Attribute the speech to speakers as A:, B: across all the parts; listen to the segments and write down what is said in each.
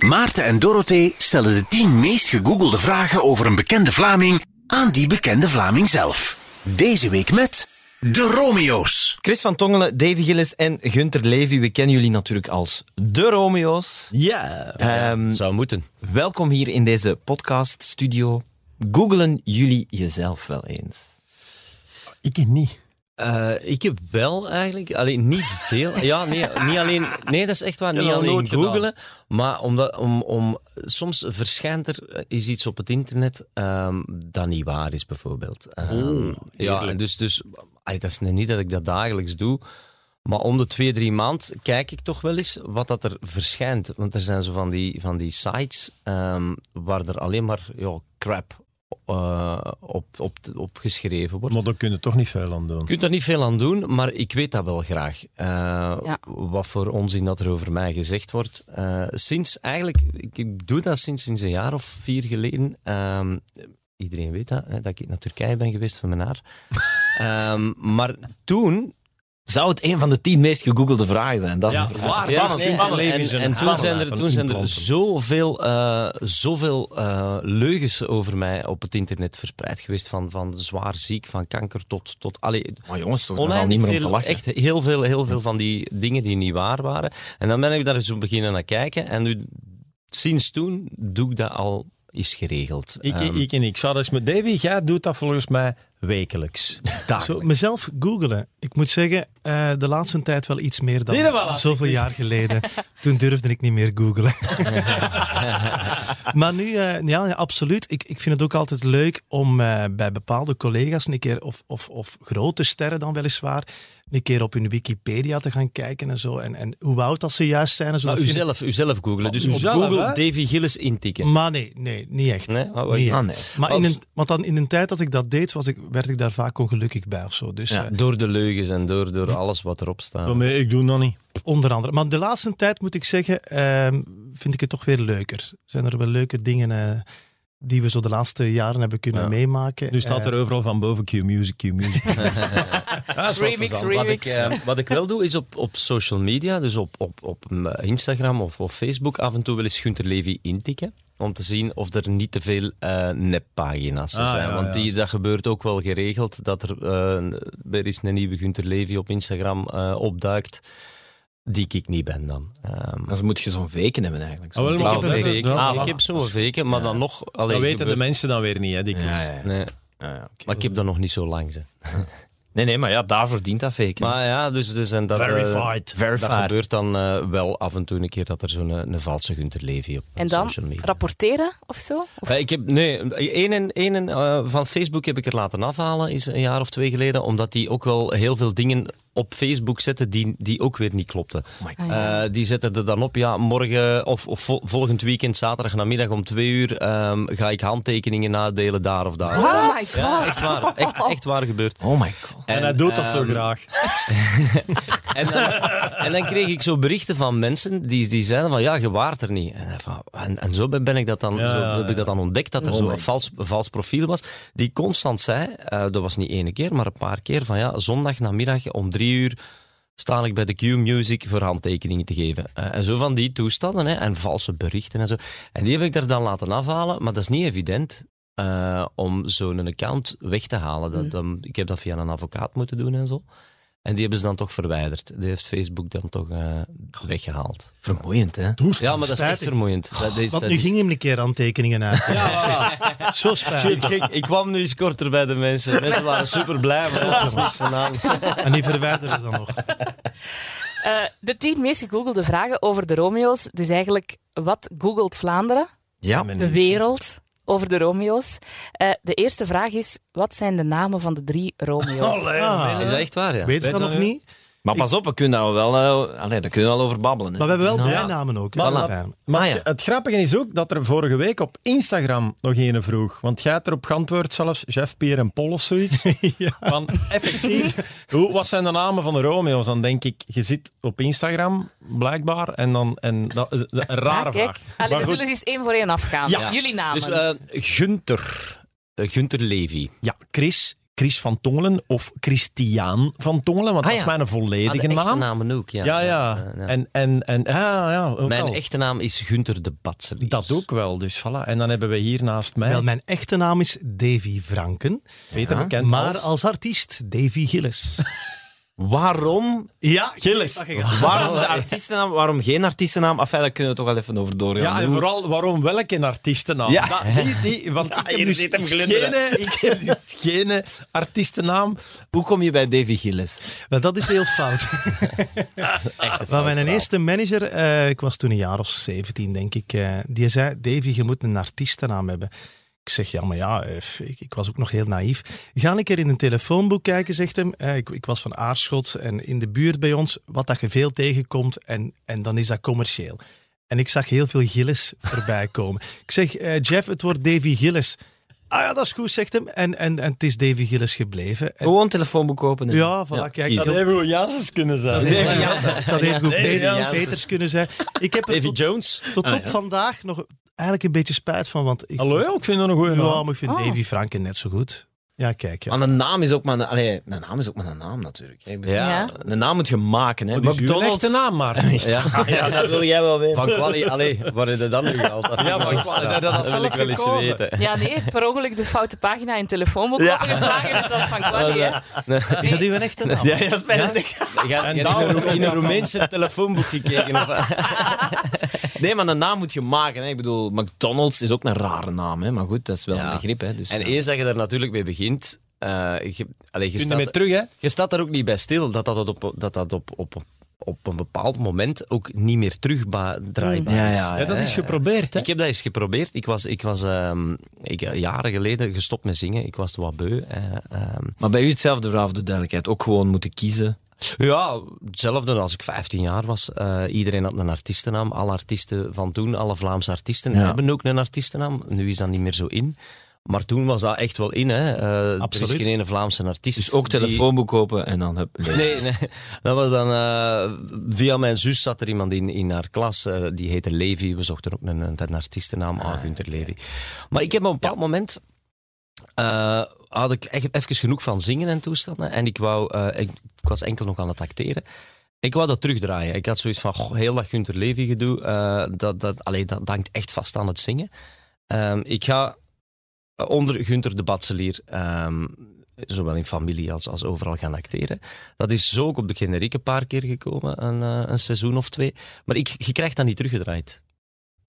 A: Maarten en Dorothee stellen de 10 meest gegoogelde vragen over een bekende Vlaming aan die bekende Vlaming zelf. Deze week met de Romeo's.
B: Chris van Tongelen, Davy Gillis en Gunter Levy, we kennen jullie natuurlijk als de Romeo's.
C: Ja,
B: Ehm,
C: zou moeten.
B: Welkom hier in deze podcaststudio. Googelen jullie jezelf wel eens?
D: Ik ken niet.
C: Eh, ik heb wel eigenlijk, alleen niet veel. Ja, nee, niet alleen, nee dat is echt waar.
D: heb
C: Niet
D: dat
C: alleen
D: nooit
C: googelen, maar omdat, om, om, soms verschijnt er eh, is iets op het internet ehm, dat niet waar is, bijvoorbeeld. Ehm, ja, en dus, dus ay, dat is nu niet dat ik dat dagelijks doe. Maar om de twee, drie maand kijk ik toch wel eens wat dat er verschijnt. Want er zijn zo van die, van die sites ehm, waar er alleen maar ja, crap eh, op, op, op geschreven wordt.
D: Maar daar kunnen we toch niet veel aan doen.
C: Je kunt er niet veel aan doen, maar ik weet dat wel graag. Eh,
E: Ja.
C: Wat voor onzin dat er over mij gezegd wordt. Eh, sinds eigenlijk, ik, ik doe dat sinds, sinds een jaar of vier geleden. Ehm, iedereen weet dat, hè, dat ik naar Turkije ben geweest voor mijn haar. Ehm, maar toen
B: Zou het een van de tien meest gegoogelde vragen zijn? Dat is de
D: Ja,
B: vraag.
D: waar?
C: ja,
D: Ah, Spannend,
C: nee, en-
D: spannend.
C: en, en toen
D: Spannend.
C: zijn er, toen zijn er zoveel, eh, zoveel eh, leugens over mij op het internet verspreid geweest. Van, van zwaar ziek, van kanker tot... tot allee,
B: Maar jongens, toch, dat is al
C: Oneindig
B: niet meer om
C: veel,
B: te lachen.
C: Echt heel veel, heel veel van die dingen die niet waar waren. En dan ben ik daar zo beginnen naar kijken. En nu, sinds toen doe ik dat al eens geregeld.
D: Ik,
C: Ehm,
D: ik, ik en ik. Zou dat eens met Davy, jij doet dat volgens mij wekelijks.
F: Zo, mezelf googelen. Ik moet zeggen, eh, de laatste tijd wel iets meer dan zoveel
D: dus-
F: jaar geleden. Toen durfde ik niet meer googelen. maar nu, eh, ja, ja, absoluut. Ik, ik vind het ook altijd leuk om eh, bij bepaalde collega's een keer, of, of, of grote sterren dan weliswaar, een keer op hun Wikipedia te gaan kijken en zo. En, en hoe oud dat ze juist zijn. En zo,
C: maar
D: Nou,
F: Dat vind ik-
C: uzelf, uzelf googlen. Dus op
D: Oh, uzelf,
C: Google
D: hè? Mm.
C: Davy Gillis intikken.
F: Maar nee, nee, niet echt.
C: Nee? Ah,
F: Niet
B: Ah,
F: echt.
B: nee.
F: Maar in
C: Als-
F: een, want dan in een tijd dat ik dat deed, was ik, werd ik daar vaak ongelukkig bij of zo. Dus,
B: Ja.
F: eh,
C: Door de leugens en door, door alles wat erop staat.
D: Daarmee, ik doe nog niet.
F: Onder andere. Maar de laatste tijd moet ik zeggen, ehm, vind ik het toch weer leuker. Zijn er wel leuke dingen eh, die we zo de laatste jaren hebben kunnen
C: Ja.
F: meemaken? Eh,
D: Nu staat er
C: Eh,
D: overal van boven Q Music, Q Music.
C: Remix, Wat ik, eh, wat ik wel doe is op, op social media, dus op, op, op eh, Instagram of, of Facebook, af en toe wel eens Gunter Levy intikken. Om te zien of er niet te veel eh, neppagina's
D: Ah,
C: zijn.
D: ja,
C: Want
D: ja.
C: die, dat gebeurt ook wel geregeld. Dat er, eh er is een nieuwe Gunter Levy op Instagram eh, opduikt. Die ik niet ben dan. Ehm,
B: Dan moet je zo'n weken hebben eigenlijk. Zo'n
D: Ah, wel,
B: dikke
D: maar
C: ik heb
D: dat-
C: een
B: weken.
C: fake.
D: dat-
C: ik heb zo'n fake, maar dan nog... Allee,
D: dat weten de
C: gebeurt-
D: mensen dan weer niet, hè, dikwijls.
B: Ja, ja, ja.
C: Nee,
B: Ah, ja, oké.
C: maar ik heb dat nog niet zo lang. Ze.
B: Nee, nee, maar ja, daarvoor dient dat faken.
C: Maar ja, dus, dus en dat... eh,
D: Verified.
C: Dat gebeurt dan eh, wel af en toe een keer dat er zo'n eh, een valse Gunter Levy op eh,
E: En dan
C: social media.
E: rapporteren of zo? Of-
C: Eh, ik heb, nee, een, en- een en, eh, van Facebook heb ik er laten afhalen, is een jaar of twee geleden, omdat die ook wel heel veel dingen op Facebook zetten die, die ook weer niet klopten.
B: my
E: Ah, ja.
C: Eh, die zetten er dan op, ja, morgen of, of vol- volgend weekend, zaterdag namiddag om twee uur, ehm, ga ik handtekeningen nadelen daar of daar.
E: Oh my god.
C: Ja, echt waar, echt, echt waar gebeurt.
B: Oh my god.
D: En, hij doet dat zo
C: ehm,
D: graag.
C: En dan, en dan kreeg ik zo berichten van mensen die, die zeiden van ja, je waart er niet. En, van, en, en zo ben ben ik dat dan,
D: Ja,
C: zo
D: ja,
C: heb ik dat dan ontdekt, dat er
B: Oh
C: zo een vals, een vals profiel was. Die constant zei, eh, dat was niet ene keer, maar een paar keer, van ja, zondag namiddag om drie uur sta ik bij de Q-Music voor handtekeningen te geven. Eh, en zo van die toestanden, hè, en valse berichten en zo. En die heb ik er dan laten afhalen, maar dat is niet evident. eh, om zo'n account weg te halen.
F: Mm.
C: Dat, dat- ik heb dat via een advocaat moeten doen en zo. En die hebben ze dan toch verwijderd. Die heeft Facebook dan toch eh, weggehaald.
B: Vermoeiend, hè?
C: Ja, maar dat is echt
F: spijtig.
C: vermoeiend. dus- Dat is,
F: Want
C: dat
F: nu
C: is-
F: ging hem een keer aantekeningen uit. Zo
C: ik,
F: spijtig.
C: ik, ik kwam nu eens korter bij de mensen. Mensen waren super blij, maar dat was niks vandaan.
F: En die verwijderen ze dan nog.
E: Eh, de tien meest gegoogelde vragen over de Romeo's. Dus eigenlijk, wat googelt Vlaanderen?
B: Ja.
E: De wereld over de Romeo's. Eh, de eerste vraag is, wat zijn de namen van de drie Romeo's?
F: Ah,
C: Is dat echt waar, ja?
F: Weet je dat nog niet?
B: Maar pas op, we kunnen daar wel, eh, allee, daar kunnen we wel over babbelen. hè. Dus-
F: Maar we hebben wel
B: Ja.
F: bijnamen ook. hè.
D: Voilà.
F: Alle bijnamen.
B: Maar
D: Het- Het grappige is ook dat er vorige week op Instagram nog een vroeg. Want jij hebt erop geantwoord zelfs, Jeff, Pierre en Paul of zoiets. Van effectief, hoe, wat zijn de namen van de Romeo's? Dan denk ik, je zit op Instagram, blijkbaar. En dan, en dat is een
E: Ja,
D: rare
E: kijk.
D: vraag.
E: Allee,
D: Maar
E: we
D: goed.
E: zullen eens één voor één afgaan.
C: Ja.
B: Dus,
E: Jullie namen.
B: Eh,
C: Dus eh Gunter. Eh, Gunter Levy.
D: Ja.
C: Chris.
D: Chris van Tongelen of Christiaan van Tongelen,
C: Ah,
D: want dat
C: ja.
D: is mijn
C: Ah,
D: volledige
C: de echte
D: naam.
C: naam ook, ja.
D: Ja, ja. En, en, en, ja, ja, ook
C: Mijn
D: wel.
C: echte naam is Gunther de Batselier.
D: Dat ook wel, dus voilà. En dan hebben we hier naast mij,
F: Wel, mijn echte naam is Davy Franken,
D: beter bekend
F: maar
D: als...
F: als artiest Davy Gillis.
B: Waarom,
F: ja,
D: Gillis.
B: waarom de artiestennaam, waarom geen artiestennaam? Enfin, daar kunnen we toch wel even over doorgaan.
D: Ja, en
B: Hoe-
D: vooral waarom welke artiestennaam?
B: Ja.
D: Dat, die, die, want ik, heb
B: hier
D: dus
B: zit hem glunderen.
D: geen, ik heb dus geen artiestennaam.
B: Hoe kom je bij Davy Gillis?
F: Wel, dat is heel fout. Maar mijn eerste manager, eh, ik was toen een jaar of 17, denk ik, eh, die zei: Davy, je moet een artiestennaam hebben. Ik zeg, ja, maar ja, eh, f- ik, ik was ook nog heel naïef. Ga een keer in een telefoonboek kijken, zegt hem. Eh, ik, ik was van Aarschot en in de buurt bij ons, wat dat je veel tegenkomt en, en dan is dat commercieel. En ik zag heel veel Gillis voorbij komen. Ik zeg, eh, Jeff, het wordt Davy Gillis. Ah ja, dat is goed, zegt hem. En, en, en het is Davy Gillis gebleven. En-
B: Gewoon telefoonboek openen.
F: ja, voilà, kijk.
D: Dat
F: dat-
D: hebben we Janssens kunnen zijn.
B: Davy
F: ja,
B: Janssens.
F: dat had even goed
B: Davy
F: Peter
B: Janssens.
F: Peters kunnen zijn. Ik heb er
C: Davy
F: tot,
C: Jones.
F: tot op vandaag nog eigenlijk een beetje spijt van, want ik
D: Hallo, Ah. ik vind dat een goede
F: vind, ja,
D: naam.
F: maar ik vind
E: Ah.
F: Davy Franken net zo goed. Ja, kijk. Ja.
B: Maar een naam is ook maar een, allee, een naam, is ook maar een naam natuurlijk. Ik bedoel,
C: Ja.
E: Ja.
B: Een naam moet je maken. Hè.
D: Dat is uw echte naam, maar.
B: Ja, ja, dat wil jij wel weten.
C: Van Quali, allee, waar heb je dat nu gehaald? Dat
D: Ja, maar Quali, dat- dat had
C: wil
D: zelf
C: ik wel eens
D: gekozen.
C: weten.
E: Ja, nee, per ongeluk de foute pagina in het telefoonboek opgeslagen. Het was van Quali, hè.
F: Is dat uw echte naam?
B: Ja, ja, spijtig.
C: Jij-
D: En
C: jij
D: daar
C: hebt in, een Roe-
D: ook
C: in een
D: nog
C: Roemeense telefoonboek gekeken. Of,
B: Nee, maar een naam moet je maken. Hè. Ik bedoel, McDonald's is ook een rare naam. Hè. Maar goed, dat is wel
C: Ja.
B: een begrip. Hè. Dus,
C: en eens dat je daar natuurlijk mee begint, eh, je, allee, je
D: Kun je
C: staat-
D: mee terug, hè?
C: Je staat daar ook niet bij stil dat dat op, dat dat op, op, op een bepaald moment ook niet meer terugdraaibaar
B: Ja,
C: is.
B: ja,
D: Mm. Ja, dat is geprobeerd, hè?
C: Ik heb dat eens geprobeerd. Ik was, ik was ehm, ik, eh, jaren geleden gestopt met zingen. Ik was te wat beu. eh, ehm.
B: Maar bij u hetzelfde verhaal voor de duidelijkheid. Ook gewoon moeten kiezen.
C: ja, hetzelfde als ik 15 jaar was. Eh, iedereen had een artiestennaam. Alle artiesten van toen, alle Vlaamse artiesten
B: Ja.
C: hebben ook een artiestennaam. Nu is dat niet meer zo in. Maar toen was dat echt wel in. Hè. Eh,
F: Absoluut.
C: Er is geen ene Vlaamse artiest.
B: Dus ook
C: die-
B: telefoonboek kopen en dan heb je...
C: Nee, nee, dat was dan... eh, via mijn zus zat er iemand in, in haar klas, eh, die heette Levi. We zochten ook een, een, een artiestennaam, ah, Gunther Levi. Maar ik heb op een bepaald moment... eh, had ik echt even genoeg van zingen en toestanden. En ik wou... eh, ik, ik was enkel nog aan het acteren. Ik wou dat terugdraaien. Ik had zoiets van, goh, heel dat Gunther Levi gedoe, eh, dat, dat, allee, dat hangt echt vast aan het zingen. Ehm, ik ga onder Gunther de Batselier, ehm, zowel in familie als, als overal, gaan acteren. Dat is zo ook op de generiek een paar keer gekomen, een, eh, een seizoen of twee. Maar ik, je krijgt dat niet teruggedraaid.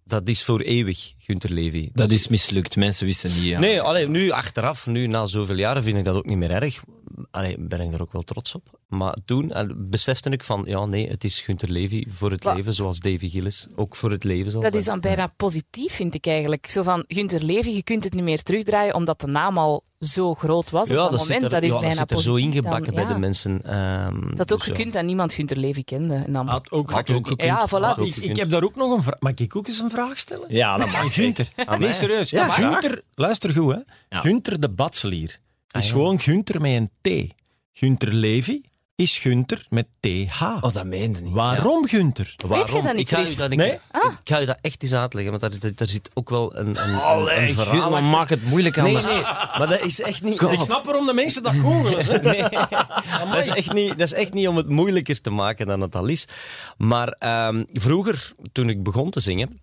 C: Dat is voor eeuwig, Gunther Levi.
B: Dat is mislukt. Mensen wisten niet. Ja.
C: Nee, allee, nu achteraf, nu na zoveel jaren, vind ik dat ook niet meer erg. Allee, ben ik er ook wel trots op. Maar toen eh, besefte ik van, ja nee, het is Gunther Levi voor het
E: Wa-
C: leven, zoals Davy Gillis ook voor het leven zal
E: Dat
C: zijn.
E: is dan bijna positief, vind ik eigenlijk. Zo van, Gunther Levy, je kunt het niet meer terugdraaien, omdat de naam al zo groot was op dat,
C: zit
E: moment.
C: er-
E: dat is
C: ja,
E: bijna
C: zit er
E: positief
C: zo ingebakken
E: dan,
C: bij
E: ja.
C: de mensen. ehm,
E: Dat ook
C: dus ja.
E: gekund en niemand Gunther Levy kende. En dan...
D: Had ook
C: Had ook gekund.
E: Ja, voilà,
C: Had ook
E: dus-
D: Ik,
C: gekund.
D: ik heb daar ook nog een vraag. Mag ik ook eens een vraag stellen?
B: Ja, dat mag.
D: Aan Gunther. Nee, serieus. Ah,
B: Ja,
D: Gunther, luister goed, hè. Gunther de Batselier is gewoon Gunther met een T. Gunther Levy is Gunther met TH.
B: Oh, dat meende niet.
D: Waarom Gunther?
E: Weet je dat niet,
C: ik ga, u
E: Chris?
C: dat, ik,
D: Nee?
C: ik ga u dat echt eens uitleggen, want daar, daar- daar zit ook wel een, een, een- een,
B: Allee,
C: verhaal.
B: Gunther, maar
C: achter.
B: maak het moeilijk aan
C: nee,
B: de-
C: nee, maar dat is echt niet.
D: Ik snap waarom de mensen dat googelen. hè.
C: Nee, dat is, echt niet, dat is echt niet om het moeilijker te maken dan het al is. Maar ehm, vroeger, toen ik begon te zingen,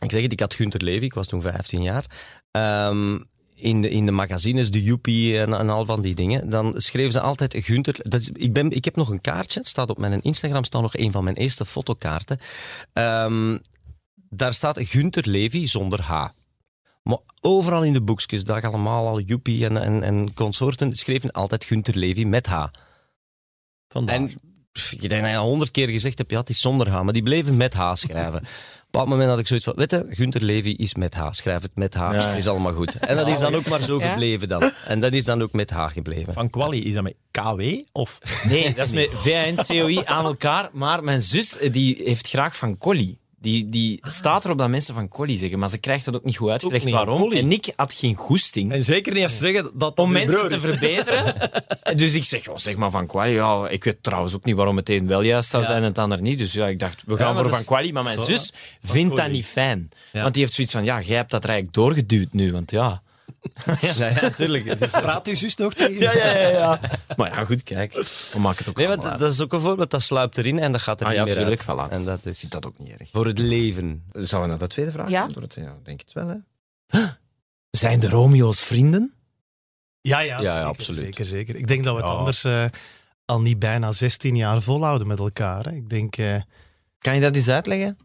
C: ik zeg het, ik had Gunther Levy, ik was toen 15 jaar. ehm, in de, in de magazines, de Joepie en, en al van die dingen. Dan schreven ze altijd Gunther. Dat is, ik, ben, ik heb nog een kaartje. Het staat op mijn Instagram staat nog een van mijn eerste fotokaarten. Ehm, daar staat Gunther Levy zonder H. Maar overal in de boekjes, daar allemaal al Joepie en, en, en consorten, schreven altijd Gunther Levy met H.
D: Vandaar.
C: En pff, ik denk dat je al honderd keer gezegd hebt, ja, het is zonder H, maar die bleven met H schrijven. Op een bepaald moment had ik zoiets van, weet je, Gunther Levy is met H, schrijf het met H, is allemaal goed. En dat is dan ook maar zo
E: Ja.
C: gebleven dan. En dat is dan ook met H gebleven.
D: Van Quali, is dat met KW? Of...
B: Nee, dat is met VN, COI aan elkaar. Maar mijn zus eh, die heeft graag van collie. Die, die staat erop dat mensen van collie zeggen, maar ze krijgt dat ook niet goed uitgelegd
D: Ook niet,
B: waarom.
D: collie.
B: En ik had geen goesting
D: En zeker niet als ze zeggen dat dat
B: om
D: uw
B: mensen
D: broer
B: te
D: is.
B: verbeteren. dus ik zeg, oh, zeg maar van Quali. Ja, ik weet trouwens ook niet waarom het een wel juist zou zijn en het ander niet. Dus ja, ik dacht, we gaan
C: maar
B: voor
C: dat
B: van
C: is-
B: Quali. Maar mijn
D: Zo,
B: zus vindt dat
D: Colli.
B: niet fijn.
D: Ja.
B: Want die heeft zoiets van, ja, jij hebt dat er eigenlijk doorgeduwd nu. Want ja,
C: Ja, ja, tuurlijk. Het is-
G: Praat u zus nog tegen?
C: Ja, ja, ja, ja.
B: Maar ja, goed, kijk. We maken het ook
C: Nee, maar
B: allemaal
C: dat- dat is ook een voorbeeld. Dat sluipt erin en dat gaat er
B: Ah,
C: niet
B: ja,
C: meer
B: tuurlijk,
C: uit.
B: voilà.
C: En dat is
B: dat ook niet erg.
C: voor het leven.
B: Zouden we naar de tweede vraag
E: Ja.
B: gaan, Dorothea? Ja, denk het wel, hè. Zijn de Romeo's vrienden?
F: Ja, ja,
C: ja,
F: zeker,
C: absoluut.
F: Zeker, zeker. Ik denk dat we het
D: Ja.
F: anders eh, al niet bijna 16 jaar volhouden met elkaar. Hè. Ik denk, eh,
C: Kan je dat eens uitleggen?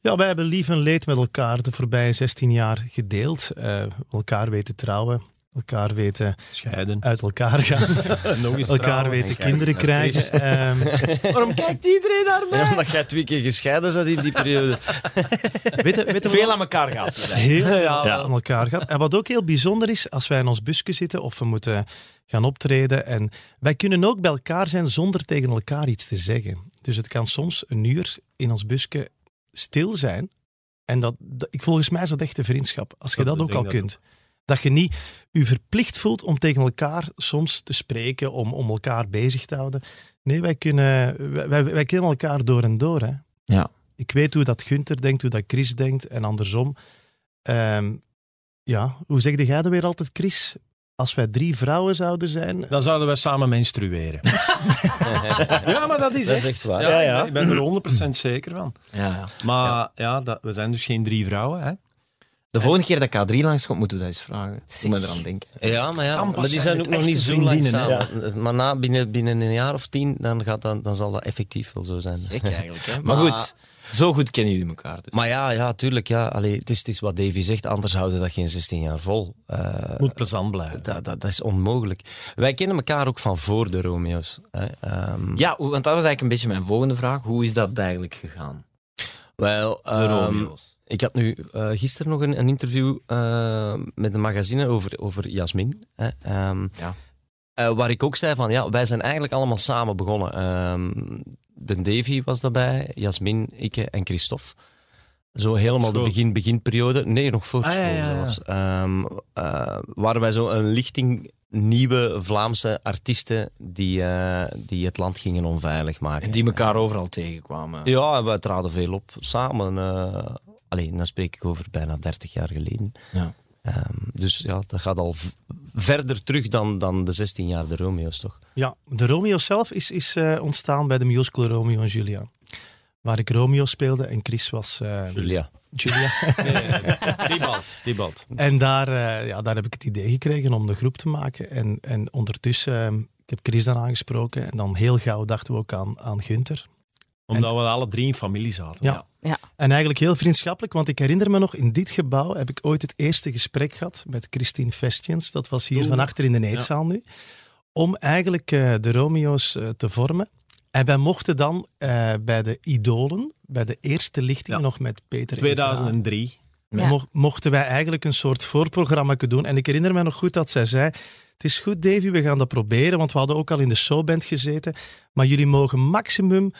F: ja, wij hebben lief en leed met elkaar de voorbije 16 jaar gedeeld. Eh, elkaar weten trouwen, elkaar weten
D: Scheiden.
F: uit elkaar gaan,
D: Nog eens
F: elkaar
D: trouwen.
F: weten
C: kijk,
F: kinderen
C: dat
F: krijgen. Ehm,
B: Waarom kijkt iedereen naar
C: Ja, omdat jij twee keer gescheiden zat in die periode.
F: weet, je- weet je wat-
B: Veel aan elkaar gaat.
F: heel ja. aan elkaar gaat. En wat ook heel bijzonder is, als wij in ons busje zitten of we moeten gaan optreden. En wij kunnen ook bij elkaar zijn zonder tegen elkaar iets te zeggen. Dus het kan soms een uur in ons busje stil zijn. En dat, dat- ik, volgens mij is dat echt de vriendschap. Als je
D: Dat-
F: dat,
D: ik
F: ook
D: denk
F: al
D: dat
F: kunt. Dat je niet u verplicht voelt om tegen elkaar soms te spreken, om, om elkaar bezig te houden. Nee, wij, kunnen, wij, wij, wij kennen elkaar door en door. Hè.
B: Ja.
F: Ik weet hoe dat Gunther denkt, hoe dat Chris denkt en andersom. Ehm, ja, hoe zegde jij dat weer altijd, Chris? Als wij drie vrouwen zouden zijn. eh,
D: Dan zouden wij samen menstrueren. ja, maar dat is
C: Dat
D: echt.
C: is echt waar.
D: Ja, Ik ben er 100% zeker van.
B: Ja, ja.
D: Maar ja, dat, we zijn dus geen drie vrouwen. Hè?
B: De volgende keer dat K3 langskomt, moeten we dat eens vragen.
E: Zeg.
B: Moet me eraan denken.
C: Ja, maar, ja,
D: Dan pas
C: maar die
D: zijn
C: zijn
D: het
C: ook nog niet
D: echte
C: zo lang
D: vriendinnen, hè.
C: samen. Eh, Maar na, binnen, binnen een jaar of tien, dan, gaat dat, dan zal dat effectief wel zo zijn.
B: Ik eigenlijk, hè.
C: Maar-
B: Maar, goed, zo goed kennen jullie elkaar dus.
C: Maar ja, ja tuurlijk. Ja. Allee, het, is, het is wat Davy zegt, anders houden dat geen 16 jaar vol. Eh,
D: Moet plezant blijven.
C: dat, dat, dat is onmogelijk. Wij kennen elkaar ook van voor de Romeo's. Hè. Ehm,
B: Ja, hoe- want dat was eigenlijk een beetje mijn volgende vraag. Hoe is dat eigenlijk gegaan?
C: wel,
B: De
C: ehm,
B: Romeo's.
C: Ik had nu eh, gisteren nog een, een interview eh, met een magazine over, over Jasmin. Hè, ehm,
B: Ja.
C: eh, waar ik ook zei van, ja, wij zijn eigenlijk allemaal samen begonnen. Ehm, de Davy was daarbij, Jasmin, ik en Christophe. Zo helemaal de
D: School.
C: begin, beginperiode. Nee, nog voor
D: Ah,
C: school
D: ja, ja, ja.
C: zelfs. Ehm, eh, waren wij zo een lichting nieuwe Vlaamse artiesten die, eh, die het land gingen onveilig maken.
B: En die elkaar overal tegenkwamen.
C: Ja, en wij traden veel op samen. eh alleen, dan spreek ik over bijna 30 jaar geleden.
B: Ja.
C: Ehm, dus ja, dat gaat al v- verder terug dan, dan de 16 jaar de Romeo's, toch?
F: Ja, de Romeo zelf is, is eh, ontstaan bij de musical Romeo en Julia. Waar ik Romeo speelde en Chris was eh,
C: Julia.
F: Julia.
D: Tibalt. Tibalt.
F: En daar, eh, ja, daar heb ik het idee gekregen om de groep te maken. En, en ondertussen, eh, ik heb Chris dan aangesproken. En dan heel gauw dachten we ook aan, aan Gunther.
D: Omdat we alle drie in familie zaten.
F: Ja.
E: Ja.
F: En eigenlijk heel vriendschappelijk, want ik herinner me nog, in dit gebouw heb ik ooit het eerste gesprek gehad met Christine Vestjens. Dat was hier
D: Oeh.
F: van achter in de eetzaal nu. Om eigenlijk eh, de Romeo's eh, te vormen. En wij mochten dan eh, bij de idolen, bij de eerste lichting
D: Ja.
F: nog met Peter en Vera.
D: 2003.
E: Ja.
F: Mo- mochten wij eigenlijk een soort voorprogramma doen. En ik herinner me nog goed dat zij zei: Het is goed, Davy, we gaan dat proberen. Want we hadden ook al in de showband gezeten. Maar jullie mogen maximum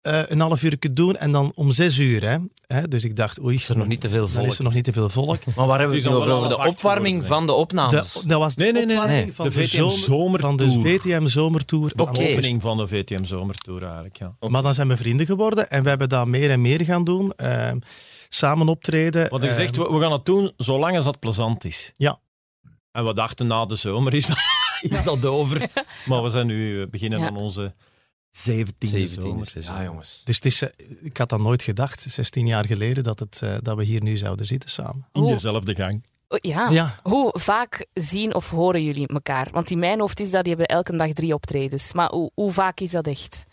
F: eh, een half uur doen en dan om zes uur. Hè? Hè? Dus ik dacht: Oei,
C: Is er nog niet te veel
F: dan
C: volk?
F: is er nog niet te veel volk.
B: Maar waar hebben
D: Die
B: we het
D: zijn
B: over?
D: wel
B: Over de
D: half acht
B: opwarming
D: geworden,
B: van de
F: De,
B: opnames.
F: dat was de
D: Nee, nee, nee,
F: opwarming
B: nee.
F: Van,
D: de
F: de
D: VTM
F: zomer, van de
D: Zomertour.
F: VTM Zomertour.
D: De
B: Oké.
D: opening van de VTM Zomertour eigenlijk, ja.
F: Maar dan zijn we vrienden geworden en we hebben dat meer en meer gaan doen. Ehm, samen optreden.
D: Wat ik
F: Ehm,
D: zeg, we, we gaan het doen zolang als dat plezant is.
F: Ja.
D: En we dachten na de zomer is dat, is dat over. Maar we zijn nu eh, beginnen
E: Ja.
D: aan onze 17e,
C: 17
D: zomer.
C: seizoen.
B: Ja, jongens.
F: Dus het is, eh, ik had dat nooit gedacht, 16 jaar geleden, dat, het, eh, dat we hier nu zouden zitten samen.
D: In
E: Hoe-
D: dezelfde gang.
E: oh, ja.
F: Ja,
E: Hoe vaak zien of horen jullie elkaar? Want in mijn hoofd is dat die hebben elke dag drie optredens. Maar hoe, hoe vaak is dat echt?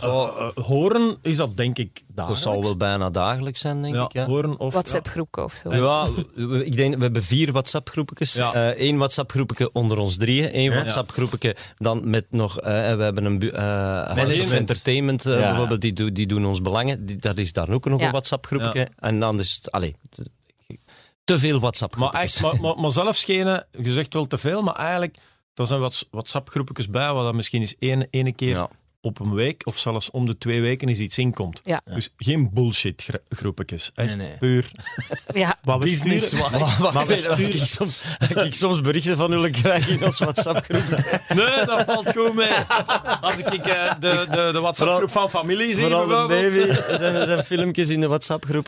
D: Eh, eh, horen is dat denk ik
C: Dat
D: dagelijks.
C: zal wel bijna dagelijks zijn, denk ik. Ja.
D: horen of...
E: WhatsApp-groepen of zo?
C: Ja, we- ik denk, we hebben vier WhatsApp-groepjes.
D: Ja.
C: Eén WhatsApp-groepje onder ons drieën. Één WhatsApp-groepje dan met nog... eh, we hebben een bu- eh, House of
D: Management.
C: Entertainment eh,
B: Ja.
C: bijvoorbeeld. Die, doen- die doen ons belangen. Die, daar is daar ook nog
E: Ja.
C: een WhatsApp-groepje. En dan is het... Allee, te- te veel
D: Maar,
C: WhatsApp-groepjes.
D: echt, maar, maar, maar zelfs geen, je zegt wel te veel, maar eigenlijk, er zijn wat WhatsApp-groepjes bij, waar dat misschien eens één ene keer
C: Ja.
D: op een week of zelfs om de twee weken eens iets inkomt.
E: Ja.
D: Dus geen bullshit gro- groepjes. Echt
B: Nee, nee.
D: puur.
E: Ja,
F: Wat we
D: Disney is
F: sturen-
C: Maar als ik, soms, als ik soms berichten van jullie krijg in ons WhatsApp-groep.
D: Nee, dat valt goed mee. Als ik eh, de, de, de WhatsApp-groep van familie zie,
C: Vooral de
D: bijvoorbeeld.
C: baby. Er zijn, er zijn filmpjes in de WhatsApp-groep.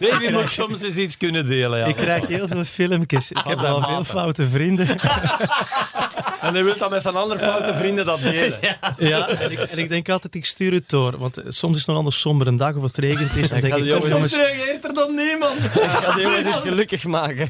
D: Baby moet soms eens iets kunnen delen. Ja.
F: Ik krijg heel veel filmpjes. Ik heb
D: zijn
F: wel veel
D: maten.
F: foute vrienden.
D: En hij wil dat met zijn andere foute vrienden dat delen.
F: Ja, en ik, en ik denk altijd, ik stuur het door. Want eh, soms is het nog anders somber een dag of het regent is. Dan denk
C: ga
F: ik,
C: de
F: kom,
C: jongens
F: jongens,
D: reageert er dan niemand.
C: Ik ga de jongens eens gelukkig maken.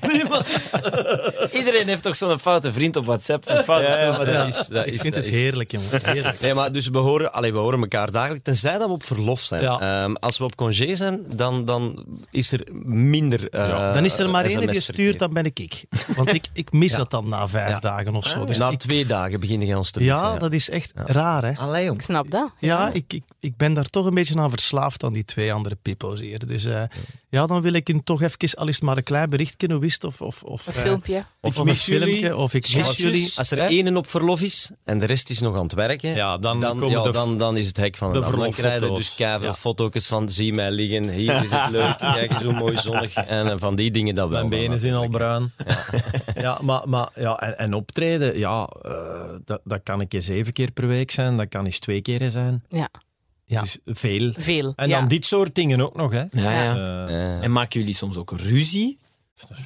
B: Iedereen heeft toch zo'n foute vriend op WhatsApp? Een foute
C: Ja, maar dat is... Dat
F: ik
C: is
F: vind
C: dat
F: het
C: is-
F: heerlijk, jongen. Heerlijk.
C: Nee, maar dus we horen, allee, we horen elkaar dagelijks, tenzij dat we op verlof zijn.
D: Ja.
C: Ehm, als we op congé zijn, dan, dan is er minder eh,
F: Dan is er maar één die
C: SMS-verkeer.
F: stuurt, dan ben ik ik. Want ik, ik mis
C: Ja.
F: dat dan na vijf
C: Ja.
F: dagen of zo. Dus
C: Ah. Na
F: ik-
C: twee dagen beginnen jij ons te missen.
F: ja, dat is echt raar, hè.
C: Allee, jong.
E: ik snap dat.
F: Ja, ik, ik, ik ben daar toch een beetje aan verslaafd aan die twee andere pippo's hier. Dus eh, ja, dan wil ik hem toch even, al is het maar een klein berichtje hoe is het, of, of, of,
E: Een
F: eh,
E: filmpje.
F: of,
D: Ik
F: een
D: mis jullie.
F: filmpje, of ik mis
C: Als,
F: jullie.
C: als er één op verlof is en de rest is nog aan het werken,
D: Ja, dan,
C: dan,
D: komen
C: ja,
D: de...
C: dan, dan is het hek van
D: de
C: een ander. Dan krijg je dus
D: verloffoto's.
C: keiveel
D: Ja.
C: foto's van zie mij liggen, hier is het leuk, kijk eens hoe mooi zonnig. En eh, van die dingen dan wel.
D: Mijn
C: dan
D: benen zijn al
C: natuurlijk.
D: bruin. Ja, maar, maar ja, en, en optreden, ja, eh, dat, dat kan ik eens zeven keer per week zijn, dat kan eens twee keer zijn.
E: Ja,
F: Ja.
D: Dus veel.
E: veel.
D: En
E: ja.
D: dan dit soort dingen ook nog, hè.
B: Ja, ja.
D: Eh,
C: Eh,
B: En maken jullie soms ook ruzie?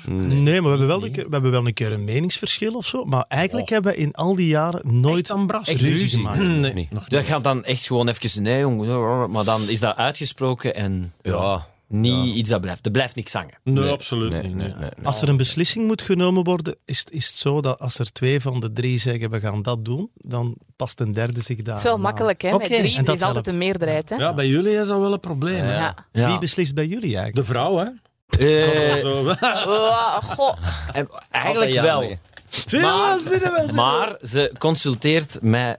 C: nee.
F: Nee, maar we hebben, wel een keer, we hebben wel een keer een meningsverschil of zo. Maar eigenlijk hebben we in al die jaren nooit
D: Echt aan bras.
F: echt ruzie,
C: ruzie?
F: gemaakt.
D: Nee.
C: Nee.
B: Dat gaat dan echt gewoon even, nee jongen, maar dan is dat uitgesproken en
C: Ja,
B: niet iets dat blijft. Er blijft niks hangen.
D: Nee,
C: Nee,
D: absoluut
C: nee,
D: niet.
C: nee,
D: nee.
C: nee, nee.
F: Als er een beslissing moet genomen worden, is, het- is het zo dat als er twee van de drie zeggen we gaan dat doen, dan past een derde zich daar.
E: Het is wel
F: aan.
E: makkelijk, hè?
F: Oké,
E: Met drie
F: en dat
E: is altijd
F: helpt.
E: een meerderheid, hè?
D: Ja, bij jullie is dat wel een probleem. hè.
E: Ja.
F: Wie beslist bij jullie eigenlijk?
D: De vrouw, hè?
B: Eh,
D: Zo.
E: Oh, goh.
B: en eigenlijk
C: Altijd ja
B: wel.
C: zeggen.
D: Zie je wel, zie je wel.
B: Maar ze consulteert mij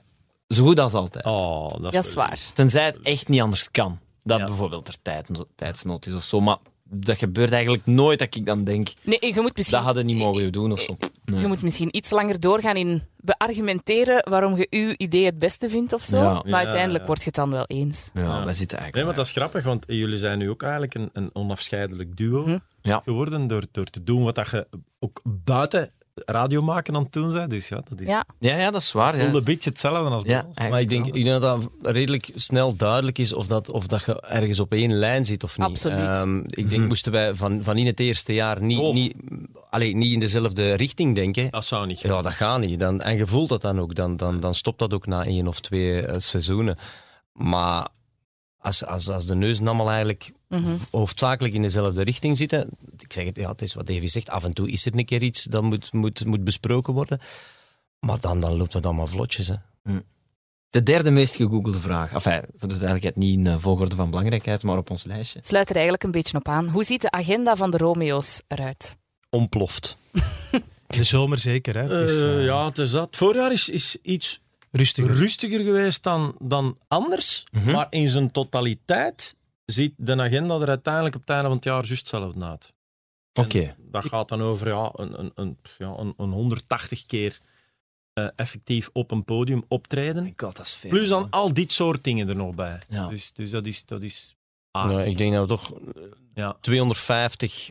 B: zo goed als altijd.
D: Oh, dat is,
E: Dat is waar.
B: Tenzij het echt niet anders kan. Dat
D: Ja.
B: bijvoorbeeld er tijd, tijdsnood is of zo. Maar dat gebeurt eigenlijk nooit dat ik dan denk,
E: Nee, je moet
B: dat
E: misschien,
B: hadden niet mogen doen of zo. Nee.
E: je moet misschien iets langer doorgaan in beargumenteren waarom je uw idee het beste vindt of zo.
B: Ja.
E: Maar
D: Ja,
E: uiteindelijk
D: ja.
E: wordt je het dan wel eens.
B: Ja, wij zitten
D: Nee,
B: eigenlijk...
D: want dat is grappig, want jullie zijn nu ook eigenlijk een, een onafscheidelijk duo
E: Hm.
B: Ja.
D: geworden door, door te doen wat dat je ook buiten radio maken aan het doen bent. Dus ja, dat is
E: Ja.
B: Ja, ja, dat is waar.
D: voelde
B: Ja.
D: een beetje hetzelfde als bij
B: Ja,
D: ons.
C: Maar ik
B: eigenlijk
C: denk, ik denk dat dat redelijk snel duidelijk is of dat, of dat je ergens op één lijn zit of niet.
E: Absoluut.
C: Ehm, ik
D: Mhm.
C: denk, moesten wij van, van in het eerste jaar niet,
D: Oh.
C: niet, allee, niet in dezelfde richting denken.
D: Dat zou niet
C: Ja, dat gaat niet. Dan, en je voelt dat dan ook. Dan, dan, dan stopt dat ook na één of twee eh, seizoenen. Maar als, als, als de neus namelijk eigenlijk
E: Mhm.
C: hoofdzakelijk in dezelfde richting zitten. Ik zeg het, ja, het is wat Davy zegt. Af en toe is er een keer iets dat moet, moet, moet besproken worden. Maar dan, dan loopt dat allemaal vlotjes. Hè.
B: De derde meest gegoogelde vraag. Enfin, voor de duidelijkheid niet in eh, volgorde van belangrijkheid, maar op ons lijstje.
E: Sluit er eigenlijk een beetje op aan. Hoe ziet de agenda van de Romeo's eruit?
C: Ontploft.
F: De zomer zeker, hè? Het is, eh,
D: ja, het is dat. Het voorjaar is, is iets
F: Rustiger.
D: rustiger geweest dan, dan anders.
B: Mhm.
D: Maar in zijn totaliteit ziet de agenda er uiteindelijk op het einde van het jaar juist hetzelfde uit. En
B: Oké.
D: Dat gaat dan over ja, een, een, een, pff, ja, een, een 180 keer eh, effectief op een podium optreden.
B: god, dat is veel.
D: Plus dan al dit soort dingen er nog bij.
B: Ja.
D: Dus, dus dat is... Dat is ah,
C: Nou, ik denk dat we toch eh,
D: Ja.
C: 250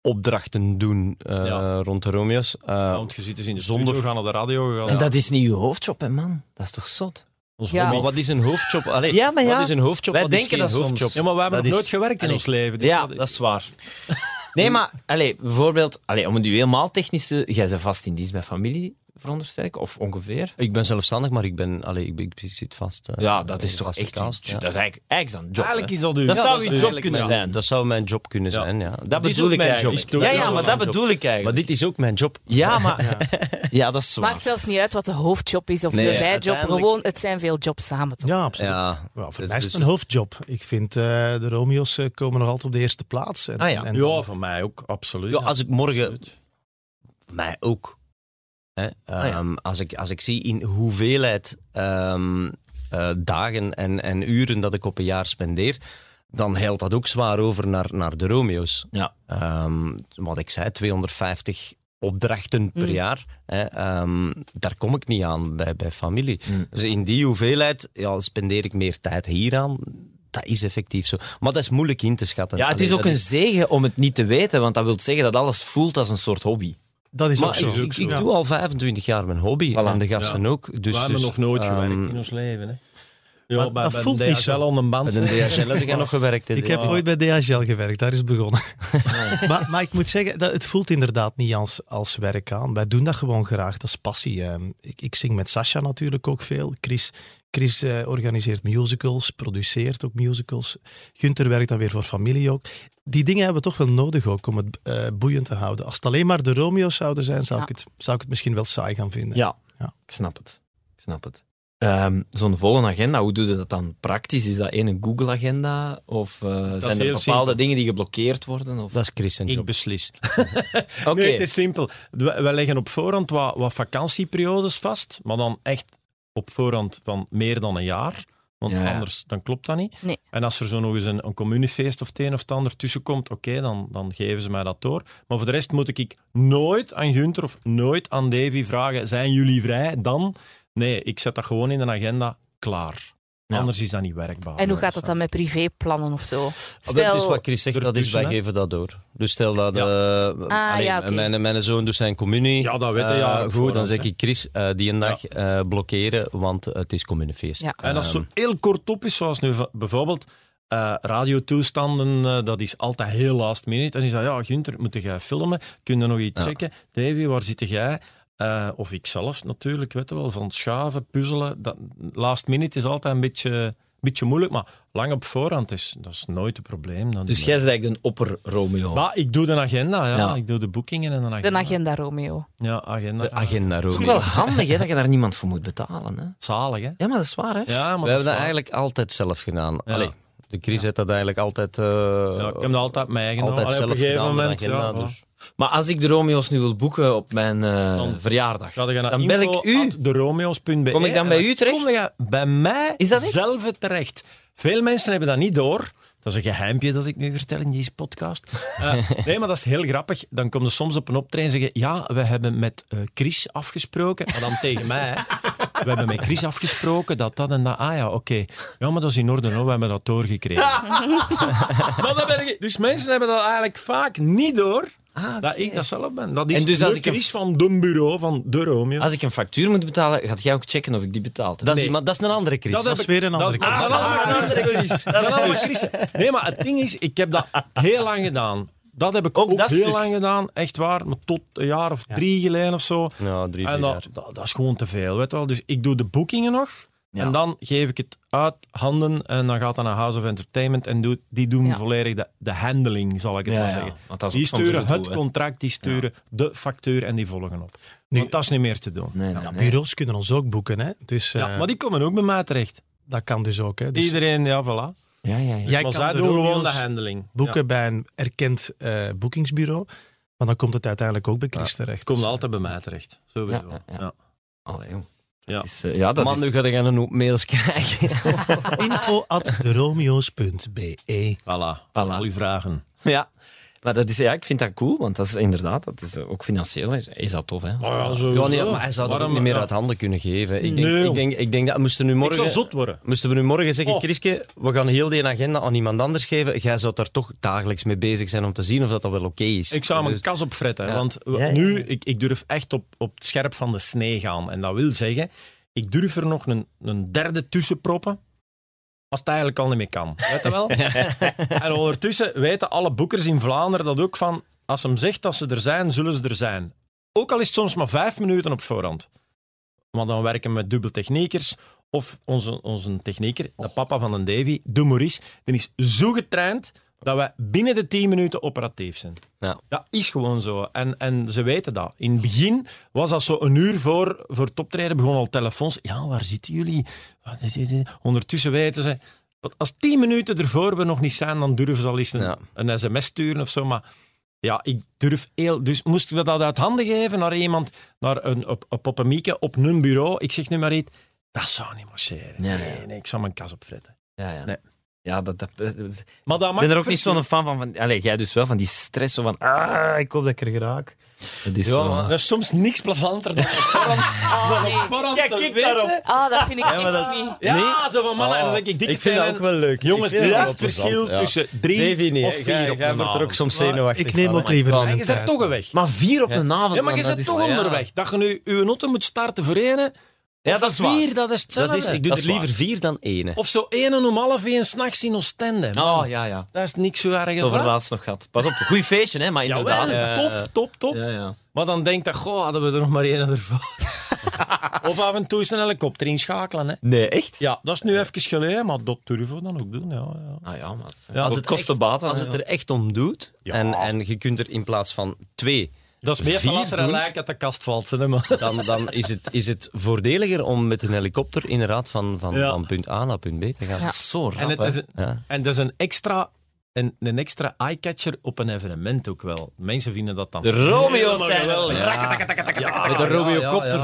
C: opdrachten doen eh,
D: Ja.
C: rond de Romeo's. Eh,
D: Want je zit dus in de
C: Zonder-
D: studio, we gaan naar de radio, we gaan...
B: En dat is niet uw hoofdjob, hè, man. Dat is toch zot?
D: Ons
E: Ja.
D: hobby.
C: maar wat is een hoofdjob? Allee,
B: Ja, maar ja.
C: Wat is een hoofdjob?
B: Wij
C: wat
B: denken
C: is
B: dat
C: geen
B: soms.
C: hoofdjob?
D: Ja, maar we hebben
C: Dat
D: nog nooit
C: is-
D: gewerkt in
C: Allee.
D: ons leven. dus
B: ja, dat is waar. Nee, maar allez, bijvoorbeeld, allez, om het u helemaal technisch te... Jij bent vast in dienst bij familie, veronderstel ik, of ongeveer.
C: Ik ben zelfstandig, maar ik, ben, allee, ik, ik zit vast. eh,
B: Ja, dat is
C: in
B: toch
C: vaste
B: echt...
C: kast,
B: uw-
C: ja.
B: Dat is eigenlijk, eigenlijk zo'n job.
D: Eigenlijk
B: hè.
D: is dat uw...
B: Dat
D: Ja,
B: zou
D: is
B: uw
D: uw-
B: job
D: ja.
B: kunnen zijn.
C: Dat zou mijn job kunnen
D: Ja.
C: zijn, ja. Dat,
B: Dat
C: is ook
B: bedoel ik
C: mijn job.
B: eigenlijk.
D: Is toch
B: Ja, ja,
D: ook
B: maar
D: mijn
B: dat
D: job.
B: bedoel ik
C: Maar
B: eigenlijk.
C: dit is ook mijn job.
B: Ja, maar... Ja. dat is zwaar.
E: Maakt zelfs niet uit wat de hoofdjob is of
C: Nee,
E: de bijjob.
C: uiteindelijk-
E: Gewoon, het zijn veel jobs samen, toch?
F: Ja, absoluut.
C: Ja,
F: Ja, voor
C: Dus-
F: mij is
C: dus-
F: het een hoofdjob. Ik vind eh, de Romeo's eh, komen nog altijd op de eerste plaats. En,
B: Ah, ja.
F: en-
D: Ja, van mij ook, absoluut.
C: ja, als ik morgen... Mij ook. Hè?
B: Ah, ja.
C: Ehm, als, ik, als ik zie in hoeveelheid ehm, eh, dagen en, en uren dat ik op een jaar spendeer, dan helpt dat ook zwaar over naar, naar de Romeo's.
B: Ja.
C: Ehm, wat ik zei, 250 opdrachten per
E: Mm.
C: jaar. Hè, ehm, daar kom ik niet aan bij, bij familie.
B: Mm.
C: Dus in die hoeveelheid ja, spendeer ik meer tijd hieraan. Dat is effectief zo. Maar dat is moeilijk in te schatten.
B: Ja, het is
C: Allee,
B: ook
C: dat
B: een zegen om het niet te weten, want dat wil zeggen dat alles voelt als een soort hobby.
F: Dat is ook
C: Maar
F: zo.
C: ik, ik, ik
F: Ja.
C: doe al 25 jaar mijn hobby
B: Voilà.
C: en de gasten
D: Ja.
C: ook. Dus,
D: we hebben
C: dus,
D: nog nooit
C: ehm,
D: gewerkt in ons leven. Hè. Ja,
F: Maar dat voelt niet zo.
D: wel onder band.
C: Met een
D: hè.
C: DHL heb ik nog gewerkt. hè,
F: Ik heb
C: dit jaar.
F: ooit bij DHL gewerkt, daar is het begonnen. maar, maar ik moet zeggen, dat, het voelt inderdaad niet als, als werk aan. Wij doen dat gewoon graag, dat is passie. Ehm, ik, ik zing met Sasha natuurlijk ook veel. Chris, Chris eh, organiseert musicals, produceert ook musicals. Gunther werkt dan weer voor familie ook. Die dingen hebben we toch wel nodig ook om het eh, boeiend te houden. Als het alleen maar de Romeo's zouden zijn, zou,
E: Ja.
F: ik, het, zou ik het misschien wel saai gaan vinden.
B: Ja,
F: Ja.
B: ik snap het. Ik snap het. Ehm, Zo'n volle agenda, hoe doe je dat dan praktisch? Is dat één Google-agenda? Of eh, zijn er
D: heel
B: bepaalde
D: simpel.
B: dingen die geblokkeerd worden? Of...
C: Dat is Chris zijn
D: Ik
C: job.
D: beslis.
B: Oké,
D: Nee, het is simpel. We, we leggen op voorhand wat, wat vakantieperiodes vast, maar dan echt op voorhand van meer dan een jaar. Want
B: Ja, ja.
D: anders dan klopt dat niet.
E: Nee.
D: En als er zo nog eens een, een communifeest of het een of het ander tussenkomt, oké, dan, dan geven ze mij dat door. Maar voor de rest moet ik ik nooit aan Gunther of nooit aan Davy vragen, zijn jullie vrij dan? Nee, ik zet dat gewoon in een agenda, klaar.
B: Ja.
D: Anders is dat niet werkbaar.
E: En hoe gaat dat dan met privéplannen of zo?
C: Ah, Dat
E: Stel,
C: is wat Chris zegt, dat is, wij
D: ertussen, hè?
C: geven dat door. Dus stel dat
D: Ja.
C: eh,
E: Ah, ja, oké.
C: mijn, mijn zoon doet zijn communie.
D: Ja, dat weet hij, ja,
C: Eh,
D: op
C: goed, dan
D: voorhand,
C: zeg
D: hè.
C: ik Chris, eh, die een dag eh, blokkeren, want het is communiefeest.
E: Ja.
D: En als
C: Ehm,
D: zo heel kort op is, zoals nu va- bijvoorbeeld eh, radiotoestanden, eh, dat is altijd heel last minute. En die zei, ja, Gunther, moet jij filmen? Kun je nog iets
C: Ja.
D: checken? Davy, waar zit jij? Eh, of ik zelf natuurlijk, weet je wel, van schaven, puzzelen. Dat, last minute is altijd een beetje, beetje moeilijk, maar lang op voorhand is dat is nooit een probleem. Dan
B: Dus jij bent eigenlijk een opper-Romeo.
D: Maar ik doe de agenda, ja.
B: Ja.
D: Ik doe de boekingen en een agenda.
E: de agenda Romeo.
D: Ja, agenda.
C: de agenda,
B: Dat is ook
C: Romeo.
B: wel handig hè, dat je daar niemand voor moet betalen. Hè?
D: Zalig, hè?
B: Ja, maar dat is waar. Hè?
D: Ja, maar
C: We hebben dat eigenlijk altijd zelf gedaan.
D: Ja.
C: Allee, de Chris heeft dat eigenlijk altijd... eh,
D: Ja, ik heb dat altijd mijn eigen
C: altijd
D: Allee,
C: zelf
D: op een gegeven
C: gedaan, de
D: moment.
C: agenda,
D: ja,
C: dus.
B: Maar als ik de Romeo's nu wil boeken op mijn eh,
D: Dan-
B: verjaardag,
D: Ga je naar
B: dan bel ik u.
D: deromeos.be.
B: Kom ik dan
D: e en
B: bij u terecht?
D: Kom je bij mij
B: Is dat echt?
D: zelf terecht. Veel mensen hebben dat niet door. Dat is een geheimpje dat ik nu vertel in deze podcast. Eh, nee, maar dat is heel grappig. Dan komen ze soms op een optreden en zeggen... Ja, we hebben met eh, Chris afgesproken. Maar dan tegen mij. hè. We hebben met Chris afgesproken dat dat en dat... Ah ja, oké. Ja, maar dat is in orde hoor. We hebben dat doorgekregen. maar dat ben ik- dus mensen hebben dat eigenlijk vaak niet door.
B: Ah,
D: Dat ik dat zelf ben. Dat is
B: En dus als
D: door
B: ik een-
D: Chris van de bureau, van de Romeo.
B: Als ik een factuur moet betalen, gaat jij ook checken of ik die betaald heb.
C: Dat, is, iemand- dat is een andere Chris.
F: dat is weer een andere
D: dat- Ah.
F: kant.
D: dat is allemaal Christen. Dat zijn allemaal Christen. Nee, maar het ding is, ik heb dat heel lang gedaan. Dat heb ik ook,
B: dat
D: heel
B: stuk.
D: lang gedaan, echt waar. Maar tot een jaar of drie geleden of zo.
C: Ja, drie, vier
D: En
C: jaar.
D: dat, dat, dat is gewoon te veel, weet je wel. Dus ik doe de boekingen nog.
B: Ja.
D: En dan geef ik het uit handen en dan gaat dat naar House of Entertainment en doet, die doen
E: Ja.
D: volledig de, de handling, zal ik het maar zeggen.
B: Want dat is
D: Die
B: ook soms
D: sturen
B: een gedoe,
D: het
B: hè.
D: contract, die sturen de factuur en die volgen op.
F: Nu-
D: Want dat is niet meer te doen.
B: Nee, nee, nee.
F: Bureaus kunnen ons ook boeken, hè? Dus,
D: Ja,
F: eh,
D: maar die komen ook bij mij terecht.
F: dat kan dus ook, hè? Dus
D: Iedereen, ja, voilà.
B: Ja, ja, ja.
F: jij
D: maar
F: kan
D: zij
F: de
D: doen gewoon
F: Romeo's-
D: de handeling.
F: boeken bij een erkend eh, boekingsbureau. Maar dan komt het uiteindelijk ook bij Chris terecht.
D: Komt altijd bij mij terecht. Sowieso.
B: Ja,
D: Ja,
B: ja, ja. Allee, joh.
D: Ja.
B: Het is, eh, ja, dat
C: Man,
B: is...
C: nu ga je een hoop mails krijgen.
F: Info at deromeo's.be.
D: Voilà.
B: Voilà.
D: Al uw vragen.
B: Ja. Maar dat is, ja, ik vind dat cool, want dat is inderdaad, dat is eh, ook financieel, is, is dat tof, hè?
D: Oh.
C: Ja, nee, maar hij zou dat ook
D: Waarom-
C: niet meer
D: ja.
C: uit handen kunnen geven. Ik denk,
D: Nee,
C: ik denk, ik denk dat moesten nu
D: Ik zou
C: morgen...
D: zot worden.
C: Moesten we nu morgen zeggen,
D: Oh.
C: Chriske, we gaan heel die agenda aan iemand anders geven. Jij zou daar toch dagelijks mee bezig zijn om te zien of dat, dat wel oké is.
D: Ik zou mijn
C: Dus-
D: kas op fretten.
C: Ja.
D: Want
C: Ja, ja, ja.
D: nu, ik, ik durf echt op, op het scherp van de snee gaan. En dat wil zeggen, ik durf er nog een, een derde tussen proppen. Als het eigenlijk al niet meer kan. Weet je wel? en ondertussen weten alle boekers in Vlaanderen dat ook van... Als hem zegt dat ze er zijn, zullen ze er zijn. Ook al is het soms maar vijf minuten op voorhand. Maar dan werken we met dubbel techniekers. Of onze, onze technieker, de papa van een Davy, de Maurice, die is zo getraind dat wij binnen de tien minuten operatief zijn.
C: Ja.
D: Dat is gewoon zo. En, en ze weten dat. In het begin was dat zo een uur voor, voor het optreden begon al telefoons. Ja, waar zitten jullie? Wat is dit? Ondertussen weten ze... want Als tien minuten ervoor we nog niet zijn, dan durven ze al eens een,
C: Ja.
D: een sms sturen of zo. Maar ja, ik durf heel... Dus moesten we dat uit handen geven naar iemand, naar een, op, op, op een mieke, op hun bureau? Ik zeg nu maar iets. Dat zou niet marcheren.
B: Ja, ja.
D: nee, nee, ik zou mijn kas opfretten.
B: Ja, ja.
D: Nee.
B: Ja, dat, dat, dat- dat-
D: Maar dat
B: ik
D: mag
B: ben er ook niet zo'n fan van. van allez, jij dus wel, van die stress zo van... Ah, ik hoop dat ik er geraak. Dat is
C: Ja,
B: wel-
C: maar-
D: Dat is soms niks plezanter dan
E: Ah, nee.
D: Ja, kijk daarop.
E: Ah, dat vind ik echt niet.
D: Ja, zo van mannen. en dan denk ik, dikke
C: Ah. ik vind dat
D: Stijn
C: ook
D: en-
C: wel leuk.
D: Jongens,
C: Ik vind
D: dit
C: dat
D: is het
C: wel
D: verschil
C: plezant, ja.
D: tussen drie
C: Davy niet,
D: of
C: hè.
D: vier
C: Jij-
D: op
C: jij
D: een
C: wordt er
D: avond.
C: ook soms
D: Maar-
C: zenuwachtig
F: Ik neem
C: van,
F: ook
C: hè.
F: liever
D: Ja,
F: al een
D: je bent
F: tijd.
D: toch weg.
B: Maar vier op een avond.
D: Ja, maar je
B: man, dat
D: bent
B: is-
D: toch
B: ja.
D: onderweg. Dat je nu je auto moet starten voor ene.
C: Ja,
D: of
C: dat is
D: voor
C: waar.
D: vier, dat is hetzelfde.
C: Dat is, ik doe
D: Dat
C: er
D: is waar. Oh,
C: liever vier dan één. hè.
D: Of zo ene om half één s'nachts in Oostende.
C: Nou,
B: Oh, ja, ja.
D: Dat is niks zo erg.
B: Zo
D: als
B: voor
D: dat.
B: laatst nog gehad. Pas op, goed feestje, hè, maar
D: Jawel,
B: inderdaad. eh,
C: Ja.
D: top, top, top.
B: Ja, ja.
D: Maar dan denkt dat, goh, hadden we er nog maar één ervan. of af en toe eens een helikopter inschakelen. Hè.
C: Nee, echt?
D: Ja, dat is nu even geleden, maar dat durven we dan ook doen. Ja, ja.
B: Ah, ja, maar...
D: Ja,
B: als
D: ook
B: het kost de
C: echt-
B: baat, dan,
C: Als het
B: ja.
C: er echt om doet, en, en je kunt er in plaats van twee,
D: Dat is meestal
C: Vier
D: als er een
C: doen?
D: lijk uit de kast valt. Hè, maar.
C: dan, dan is, het, is het voordeliger om met een helikopter inderdaad van, van,
D: Ja.
C: van punt A naar punt B te gaan.
E: Ja.
B: Zo rap,
D: En, het
B: hè.
D: is een,
C: Ja.
D: en dat is een extra, een, een extra eyecatcher op een evenement ook wel. Mensen vinden dat dan...
B: De Romeo's zijn
D: Helemaal
B: er.
D: geweldig.
B: Ja,
D: Met
B: de Romeocopter.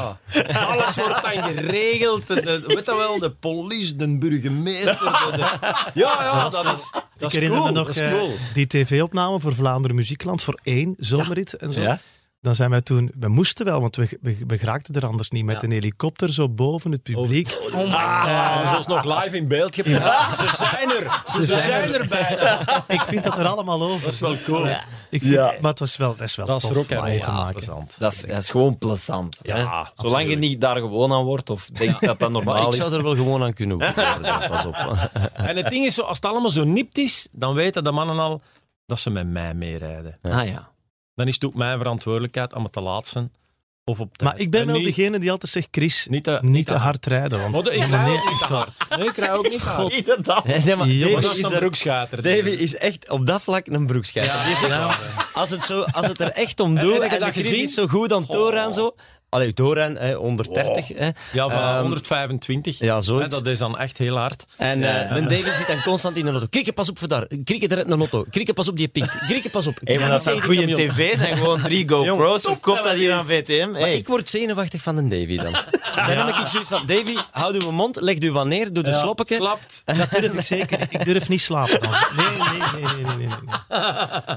D: Alles wordt dan geregeld. De, de- weet dat wel, de police, de burgemeester. de- de- Ja, ja, dat is, dat
F: ik
D: is
F: herinner
D: cool.
F: me nog
D: dat is
F: eh,
D: cool.
F: die tv-opname voor Vlaanderen Muziekland voor één zomerrit en zo. Dan zijn wij toen, we moesten wel, want we, we, we geraakten er anders niet, met een helikopter zo boven het publiek.
D: Oh, Ah, ze is nog live in beeld gebracht. Ze zijn er. Ze, zijn, er bijna.
F: Ik vind dat er allemaal over. Dat is
D: Wel cool.
F: Ik vind, Maar het was wel, dat is wel
D: Dat is
F: tof
D: rock en
F: om
D: roll
F: mee te maken.
B: Dat is, dat is gewoon plezant. hè.
D: Ja,
B: Zolang je
D: absoluut.
B: niet daar gewoon aan wordt of denkt dat dat
C: Maar
B: normaal
C: ik
B: is.
C: zou er wel gewoon aan kunnen worden. Pas op.
D: En het ding is, zo, als het allemaal zo nipt is, dan weten de mannen al dat ze met mij meerijden.
B: Ah ja.
D: Dan is het ook mijn verantwoordelijkheid om het te laatsen. Of op tijd.
F: Maar ik ben
D: En
F: wel
D: niet-
F: degene die altijd zegt, Chris, niet,
D: Niet te,
F: te hard rijden. Want
D: Maar de- ik
F: Nee,
D: rij ook
F: echt
D: niet te
F: waar.
D: hard. Nee, ik rij ook niet te hard.
B: Inderdaad.
C: Nee, maar
F: Jongens,
C: Davy
D: Dat is
C: is,
D: een
C: er,
D: broekschater.
C: Davy is echt op dat vlak een broekschijf. Die is echt- als, het zo, als het er echt om
D: heb
C: doet,
D: je
C: en
D: dat
C: je
D: gezien?
C: ziet zo goed aan Toran zo. Allee, Toran, hè, 130. Hè.
D: Ja, van
C: Ehm,
D: 125.
C: ja, zoiets.
D: Hè, Dat is dan echt heel hard.
C: En eh de David zit dan constant in de auto. Krikke, pas op voor daar. Krikke, daar in een auto. Krikke, pas op die pink. Krikke, pas op.
B: Hey, maar dat
C: Krikke,
B: zijn
C: nee, die
B: goede
C: camion.
B: tv's en gewoon drie GoPro's. Hoe komt dat hier aan VTM?
C: Maar
B: Hey.
C: ik word zenuwachtig van een Davy dan. Dan heb ik zoiets van, Davy, houd uw mond, leg uw wanneer, doe de
D: Ja,
C: sloppeke.
D: Slapt.
F: Dat durf ik zeker niet. Ik durf niet slapen dan. Nee, nee, nee, nee, nee. nee, nee.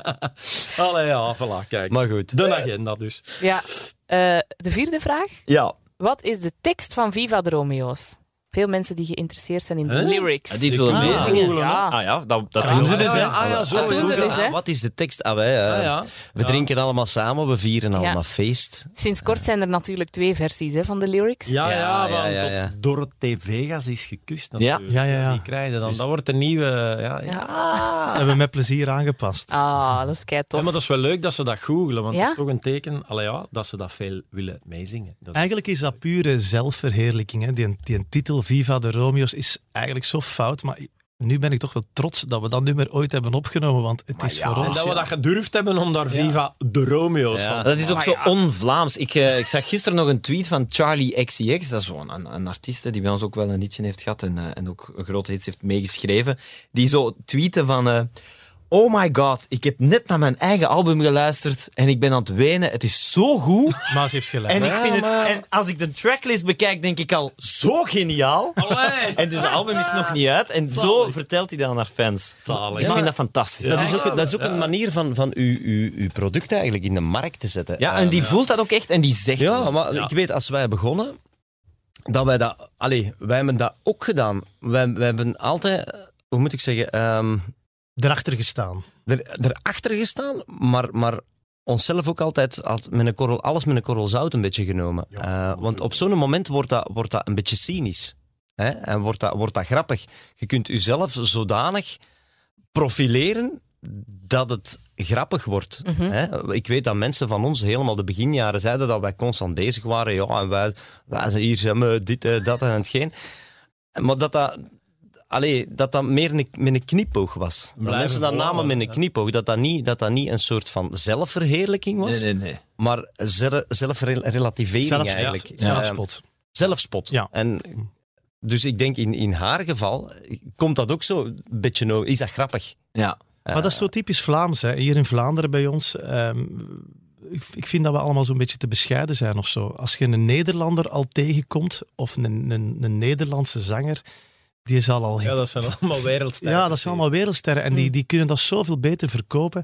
D: Allee, ja, voilà, kijk.
C: Maar goed.
D: De agenda dus.
E: Ja. Eh, de vierde vraag.
B: Ja.
E: Wat is de tekst van Viva de Romeo's? Veel mensen die geïnteresseerd zijn in de
D: Huh?
E: lyrics.
B: Die willen
D: Ah.
B: meezingen.
D: Googelen, hè?
E: Ja.
B: Ah ja, dat, dat doen ze dus.
D: ah,
B: hè.
D: ja, ah, ja, zo.
E: Dat doen ze
D: Google.
E: dus, hè.
C: Wat is de tekst? Ah, wij, eh,
D: Ah, ja.
C: We drinken allemaal samen, we vieren allemaal
E: Ja.
C: feest.
E: Sinds kort zijn er natuurlijk twee versies hè, van de lyrics.
D: Ja, ja,
C: Ja, ja,
D: want
C: ja,
D: tot
C: ja.
D: Dorothee Vegas is gekust natuurlijk.
F: Ja, ja, ja.
D: Die krijgen dan. Dat wordt een nieuwe... Ja, ja. Ah.
F: Dat hebben we met plezier aangepast.
E: Ah, dat is kei
D: Ja,
E: tof.
D: maar dat is wel leuk dat ze dat googelen, want
E: Ja?
D: dat is toch een teken allee, ja, dat ze dat veel willen meezingen. Dat is-
F: Eigenlijk is dat pure zelfverheerlijking. Hè? Die, die titel Viva de Romeo's is eigenlijk zo fout, maar nu ben ik toch wel trots dat we dat nummer ooit hebben opgenomen, want het is voor
D: en
F: ons...
D: dat we
F: ja.
D: dat gedurfd hebben om daar Viva de Romeo's
C: Ja.
D: van... Ah,
B: Dat is ook zo on-Vlaams. Ik, eh, ik zag gisteren nog een tweet van Charlie XCX. Dat is gewoon een, een artiest hè, die bij ons ook wel een liedje heeft gehad en, eh, en ook een grote hits heeft meegeschreven. Die zo tweeten van... eh, Oh my god, ik heb net naar mijn eigen album geluisterd en ik ben aan het wenen. Het is zo goed.
F: Maar ze heeft gelijk.
B: En, ik
D: Ja,
B: vind het,
D: maar-
B: en als ik de tracklist bekijk, denk ik al zo geniaal. En dus de album is nog niet uit. En zo vertelt hij dat aan haar fans.
D: Zalig.
B: Ik
D: Ja.
B: vind dat fantastisch.
C: Dat is ook, dat is ook een manier van, van uw, uw, uw product eigenlijk in de markt te zetten.
B: Ja, en
C: Eh,
B: die voelt dat ook echt en die zegt
C: Ja,
B: dat.
C: maar ik weet, als wij begonnen, dat wij dat... Allee, wij hebben dat ook gedaan. Wij, wij hebben altijd, eh, hoe moet ik zeggen, ehm,
F: Erachter gestaan.
C: er, erachter gestaan, maar, maar onszelf ook altijd had met een korrel, alles met een korrel zout een beetje genomen. Eh, want op zo'n moment wordt dat, wordt dat een beetje cynisch. Hè? En wordt dat, wordt dat grappig. Je kunt jezelf zodanig profileren dat het grappig wordt.
E: Mhm. Hm?
C: Hè? Ik weet dat mensen van ons helemaal de beginjaren zeiden dat wij constant bezig waren. Ja, en wij, wij zijn hier, zijn we, dit, eh, dat en hetgeen. Maar dat dat, allee, dat, dat meer een, met een knipoog was. Dat
D: Blijven
C: mensen dat
D: volhouden,
C: namen met een
D: hè.
C: knipoog. Dat dat, niet, dat dat niet een soort van zelfverheerlijking was,
B: Nee, nee, nee.
C: maar zer- zelfrelativering
F: Zelfspot.
C: eigenlijk.
F: Ja,
C: Ja,
F: Zelfspot.
C: zelfspot.
F: Ja.
C: En, dus ik denk in, in haar geval komt dat ook zo een beetje over. Is dat grappig?
B: Ja.
F: Maar dat is zo typisch Vlaams. Hè. Hier in Vlaanderen bij ons. ehm, ik, ik vind dat we allemaal zo'n beetje te bescheiden zijn of zo. Als je een Nederlander al tegenkomt, of een, een, een Nederlandse zanger, die zal al
D: Ja, dat zijn allemaal wereldsterren.
B: Hmm.
F: Ja, dat zijn allemaal wereldsterren. En die, die kunnen dat zoveel beter verkopen.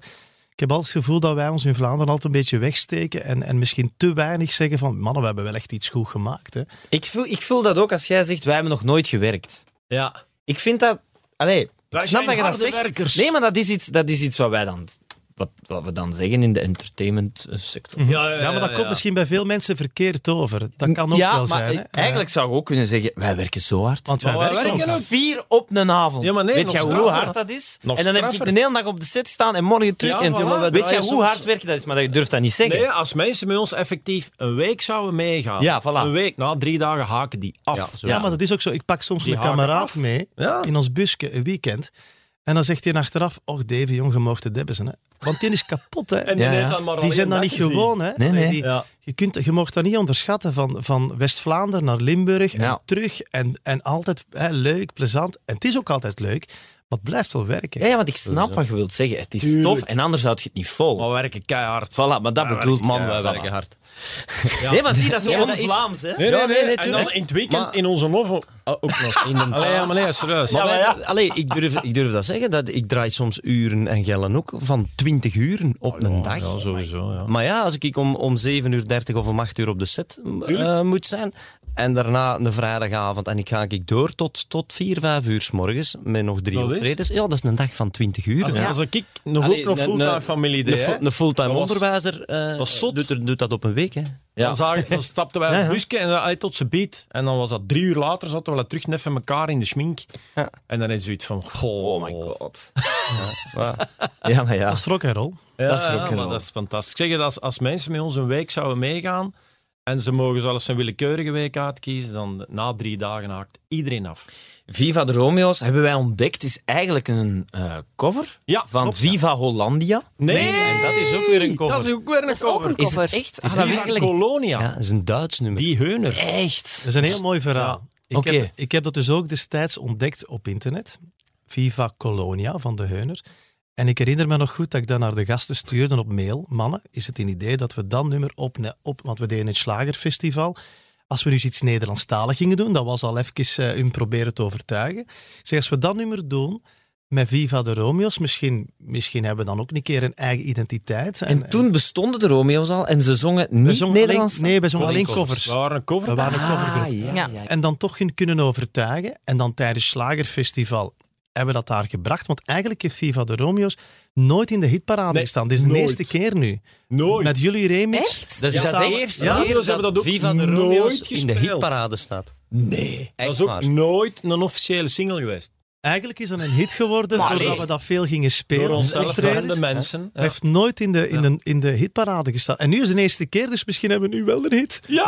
F: Ik heb altijd het gevoel dat wij ons in Vlaanderen altijd een beetje wegsteken en, en misschien te weinig zeggen van mannen, we hebben wel echt iets goed gemaakt. Hè.
B: Ik voel, ik voel dat ook als jij zegt, wij hebben nog nooit gewerkt.
D: Ja.
B: Ik vind dat... Allee, ik
F: Wij
B: snap
F: zijn
B: dat je dat
F: harde
B: zegt.
F: werkers.
B: Nee, maar dat is iets, dat is iets wat, wij dan, wat, wat we dan zeggen in de entertainment eh, sector.
D: Ja,
F: Ja, maar dat komt misschien bij veel mensen verkeerd over. Dat kan ook
B: ja,
F: wel
B: maar
F: zijn.
B: ik-
F: hè.
B: eigenlijk zou ik ook kunnen zeggen, wij werken zo hard.
F: Want wij
D: Maar wij
F: werken
D: werken
F: ook.
D: ook.
B: Vier op een avond.
D: Ja, maar nee,
B: weet
D: nog
B: jij hoe
D: straffer.
B: hard dat is?
D: Nog
B: en dan heb ik
D: straffer.
B: de hele dag op de set staan en morgen terug.
D: Ja,
B: en,
D: voilà. Ja, we
B: weet jij
D: draaien
B: hoe
D: soms-
B: hard werken dat is? Maar dat je durft dat niet zeggen.
D: Nee, als mensen met ons effectief een week zouden meegaan.
B: Ja, voilà.
D: Een week, na drie dagen haken die af.
F: Ja, maar dat is ook zo. Ik pak soms
D: Die
F: mijn
D: haken
F: kameraad
D: af.
F: mee
D: Ja.
F: in ons busje een weekend. En dan zegt hij achteraf, och Davy, jong, je mocht het hebben. ze, Hè. Want die is kapot, hè.
D: En die
B: Ja, ja.
D: deed dan maar
F: die
D: alleen
F: zijn dat
D: dat
F: niet
D: te zien.
F: gewoon, hè.
B: Nee, nee.
F: Die-
D: Ja.
F: je, kunt, je mocht dat niet onderschatten, van, van West-Vlaanderen naar Limburg en
B: Ja.
F: terug. En, en altijd hè, leuk, plezant. En het is ook altijd leuk, maar het blijft wel werken.
B: Ja, ja, want ik snap wat je wilt zeggen. Het is tof en anders zou je het niet volgen.
D: Maar we werken keihard.
B: Voilà, maar dat bedoelt
C: Man,
B: man.
C: wij
B: voilà.
C: werken hard.
B: Nee, maar zie, dat is
E: Ja,
B: gewoon
E: dat is-
B: vlaams hè?
D: Nee, nee, nee. en
B: tuurlijk.
D: dan in het weekend
C: Maar- Oh,
D: in onze novel ook nog.
C: In een
D: Allee, ja, maar nee, serieus.
C: Maar wij- allee, ik, durf, ik durf dat zeggen. Dat ik draai soms uren en gellen ook van 20 uren op een dag.
D: Ah, Ja, sowieso, ja.
C: Maar ja, als ik om, om 7 uur 30 of om 8 uur op de set m, eh, moet zijn. En daarna een vrijdagavond en ik ga ik door tot, tot 4, 5 uur s morgens met nog drie
D: Dat is?
C: optredens. Ja, dat is een dag van 20 uur.
D: Als,
C: Ja.
D: als ik nog
C: Allee,
D: ook nog
C: een-
D: fulltime
C: een-
D: familie
C: Een,
D: deed,
C: fu-
D: hè,
C: een fulltime
D: Dat was-
C: onderwijzer eh,
D: was zot.
C: doet, er- doet dat op een week. Hè.
D: dan, zagen- dan stapten wij op het busje en dan, allee, tot ze beat. En dan was dat drie uur later, zaten we wel terug net met elkaar in de schmink.
C: Ja.
D: En dan is zoiets van, goh.
B: Oh my god. Ja, maar ja.
F: Dat is rock and roll.
D: Ja,
B: Dat is
D: ja,
B: rock'n'roll.
D: maar dat is fantastisch. Ik zeg het, als, als mensen met ons een week zouden meegaan en ze mogen zelfs een willekeurige week uitkiezen, dan na drie dagen haakt iedereen af.
B: Viva de Romeo's hebben wij ontdekt is eigenlijk een eh, cover
D: Ja,
B: van
D: klopt.
B: Viva Hollandia.
D: Nee,
B: en dat is ook weer een cover.
D: Dat is ook weer een
E: Dat is ook
D: cover.
E: een
B: Is
E: cover.
B: het echt?
D: Is
B: Ah, dat
D: die
B: wist
D: van
B: ik niet.
D: Colonia.
C: Ja, dat is een Duits nummer.
D: Die heuner.
B: Echt?
F: Dat is een heel mooi verhaal. Ik,
B: Dus- Oké.
F: heb, ik heb dat dus ook destijds ontdekt op internet. Viva Colonia van de Heuner. En ik herinner me nog goed dat ik dan naar de gasten stuurde op mail. Mannen, is het een idee dat we dat nummer opne op... Want we deden het Slagerfestival. Als we dus iets Nederlandstalig gingen doen, dat was al even eh, hun proberen te overtuigen. Ik zeg, als we dat nummer doen met Viva de Romeo's, misschien, misschien hebben we dan ook een keer een eigen identiteit.
B: En, toen bestonden de Romeo's al en ze zongen
F: we
B: niet
F: zongen
B: Nederlands.
F: Alleen, nee, we zongen alleen
D: covers.
F: covers.
D: We waren een cover.
F: We waren een covergroep.
B: Ah, ja.
E: Ja.
F: En dan toch hun kunnen overtuigen. En dan tijdens Slagerfestival hebben we dat daar gebracht. Want eigenlijk heeft Viva de Romeo's nooit in de hitparade
D: Nee,
F: gestaan. Dit is de
D: nooit.
F: eerste keer nu.
D: Nooit.
F: Met jullie remix.
E: Echt?
C: Dat is
F: Ja,
C: dat de
F: dat-
C: eerste
D: ja,
C: keer
D: Romeo's
C: dat,
D: hebben dat ook
C: Viva de
D: nooit
C: Romeo's in de
D: gespeeld.
C: hitparade staat.
B: Nee.
D: dat
C: Echt
D: is ook
C: waar.
D: nooit een officiële single geweest.
F: Eigenlijk is dat een hit geworden
E: Maar
F: doordat
E: allee.
F: we dat veel gingen spelen.
D: Door
F: op
D: onszelf
F: optredens.
D: en de mensen.
F: Hij heeft nooit in de, in, de, in de hitparade gestaan. En nu is de eerste keer, dus misschien hebben we nu wel een hit.
D: Ja,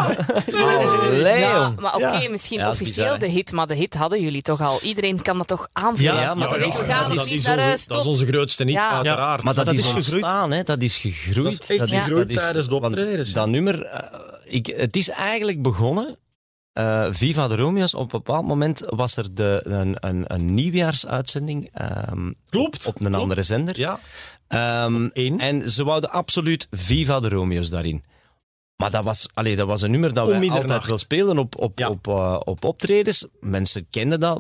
B: Allee,
E: Ja,
B: jong.
E: maar oké,
F: Ja.
E: misschien
C: Ja, dat is
E: officieel
C: bizar, hè.
E: de hit, maar de hit hadden jullie toch al. Iedereen kan dat toch aanvullen?
F: Ja,
C: maar
E: Want
C: dat
E: ik
C: is-
E: ga
C: dat
E: nog
C: is
E: niet naar huis,
D: dat is
E: tot-
D: onze grootste niet,
E: Ja.
D: uiteraard.
C: Maar dat,
F: Maar dat
C: is,
F: is gegroeid.
C: ontstaan, hè? dat is gegroeid.
D: Dat is echt gegroeid tijdens de
C: want
D: optredens.
C: Dat nummer, eh, ik, het is eigenlijk begonnen, eh, Viva de Romeo's, op een bepaald moment was er de, een, een, een nieuwjaarsuitzending ehm,
D: Klopt.
C: op een
D: Klopt.
C: andere zender.
D: Ja.
C: Ehm,
D: één.
C: en ze wouden absoluut Viva de Romeo's daarin. Maar dat was, allee, dat was een nummer dat
D: Om
C: we
D: middernacht.
C: altijd wel spelen op, op,
D: Ja.
C: op, eh, op optredens. Mensen kenden dat,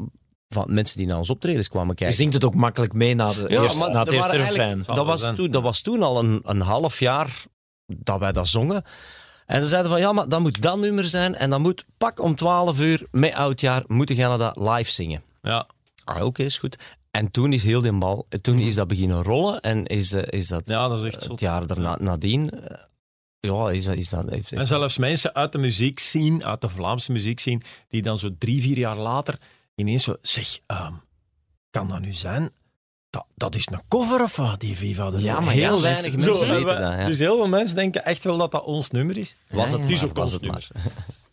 C: van mensen die naar onze optredens kwamen
B: Je
C: kijken.
B: zingt het ook makkelijk mee na, de
C: Ja,
B: eerste-
C: maar
B: na het
C: er
B: eerste
C: waren
B: refrein.
C: eigenlijk-
D: Zal
C: Dat
D: wel
C: was,
D: zijn.
C: toen, dat was toen al een, een half jaar dat wij dat zongen. En ze zeiden van, ja, maar dat moet dat nummer zijn. En dan moet pak om 12 uur met oudjaar moeten gaan dat live zingen.
D: Ja.
C: Ah, oké, is goed. En toen is heel die bal, toen is dat beginnen rollen. En is, eh, is dat
D: ja, dat is echt
C: het
D: zot.
C: jaar daarna, nadien, eh, ja, is dat... Is dat heeft-
D: En zelfs mensen uit de muziek zien, uit de Vlaamse muziek zien, die dan zo drie, vier jaar later ineens zo, zeg, ehm, kan dat nu zijn? Dat, dat is een cover of wat, die Viva de
C: ja,
D: Romeo's?
C: maar
D: Heel
C: heel
D: veel
C: weinig mensen
D: Zo,
C: weten
D: wij-
C: dat. Ja.
D: Dus heel veel mensen denken echt wel dat dat ons nummer is.
C: was het
B: ja,
C: maar,
D: dus ook
C: was
D: ons
C: het maar.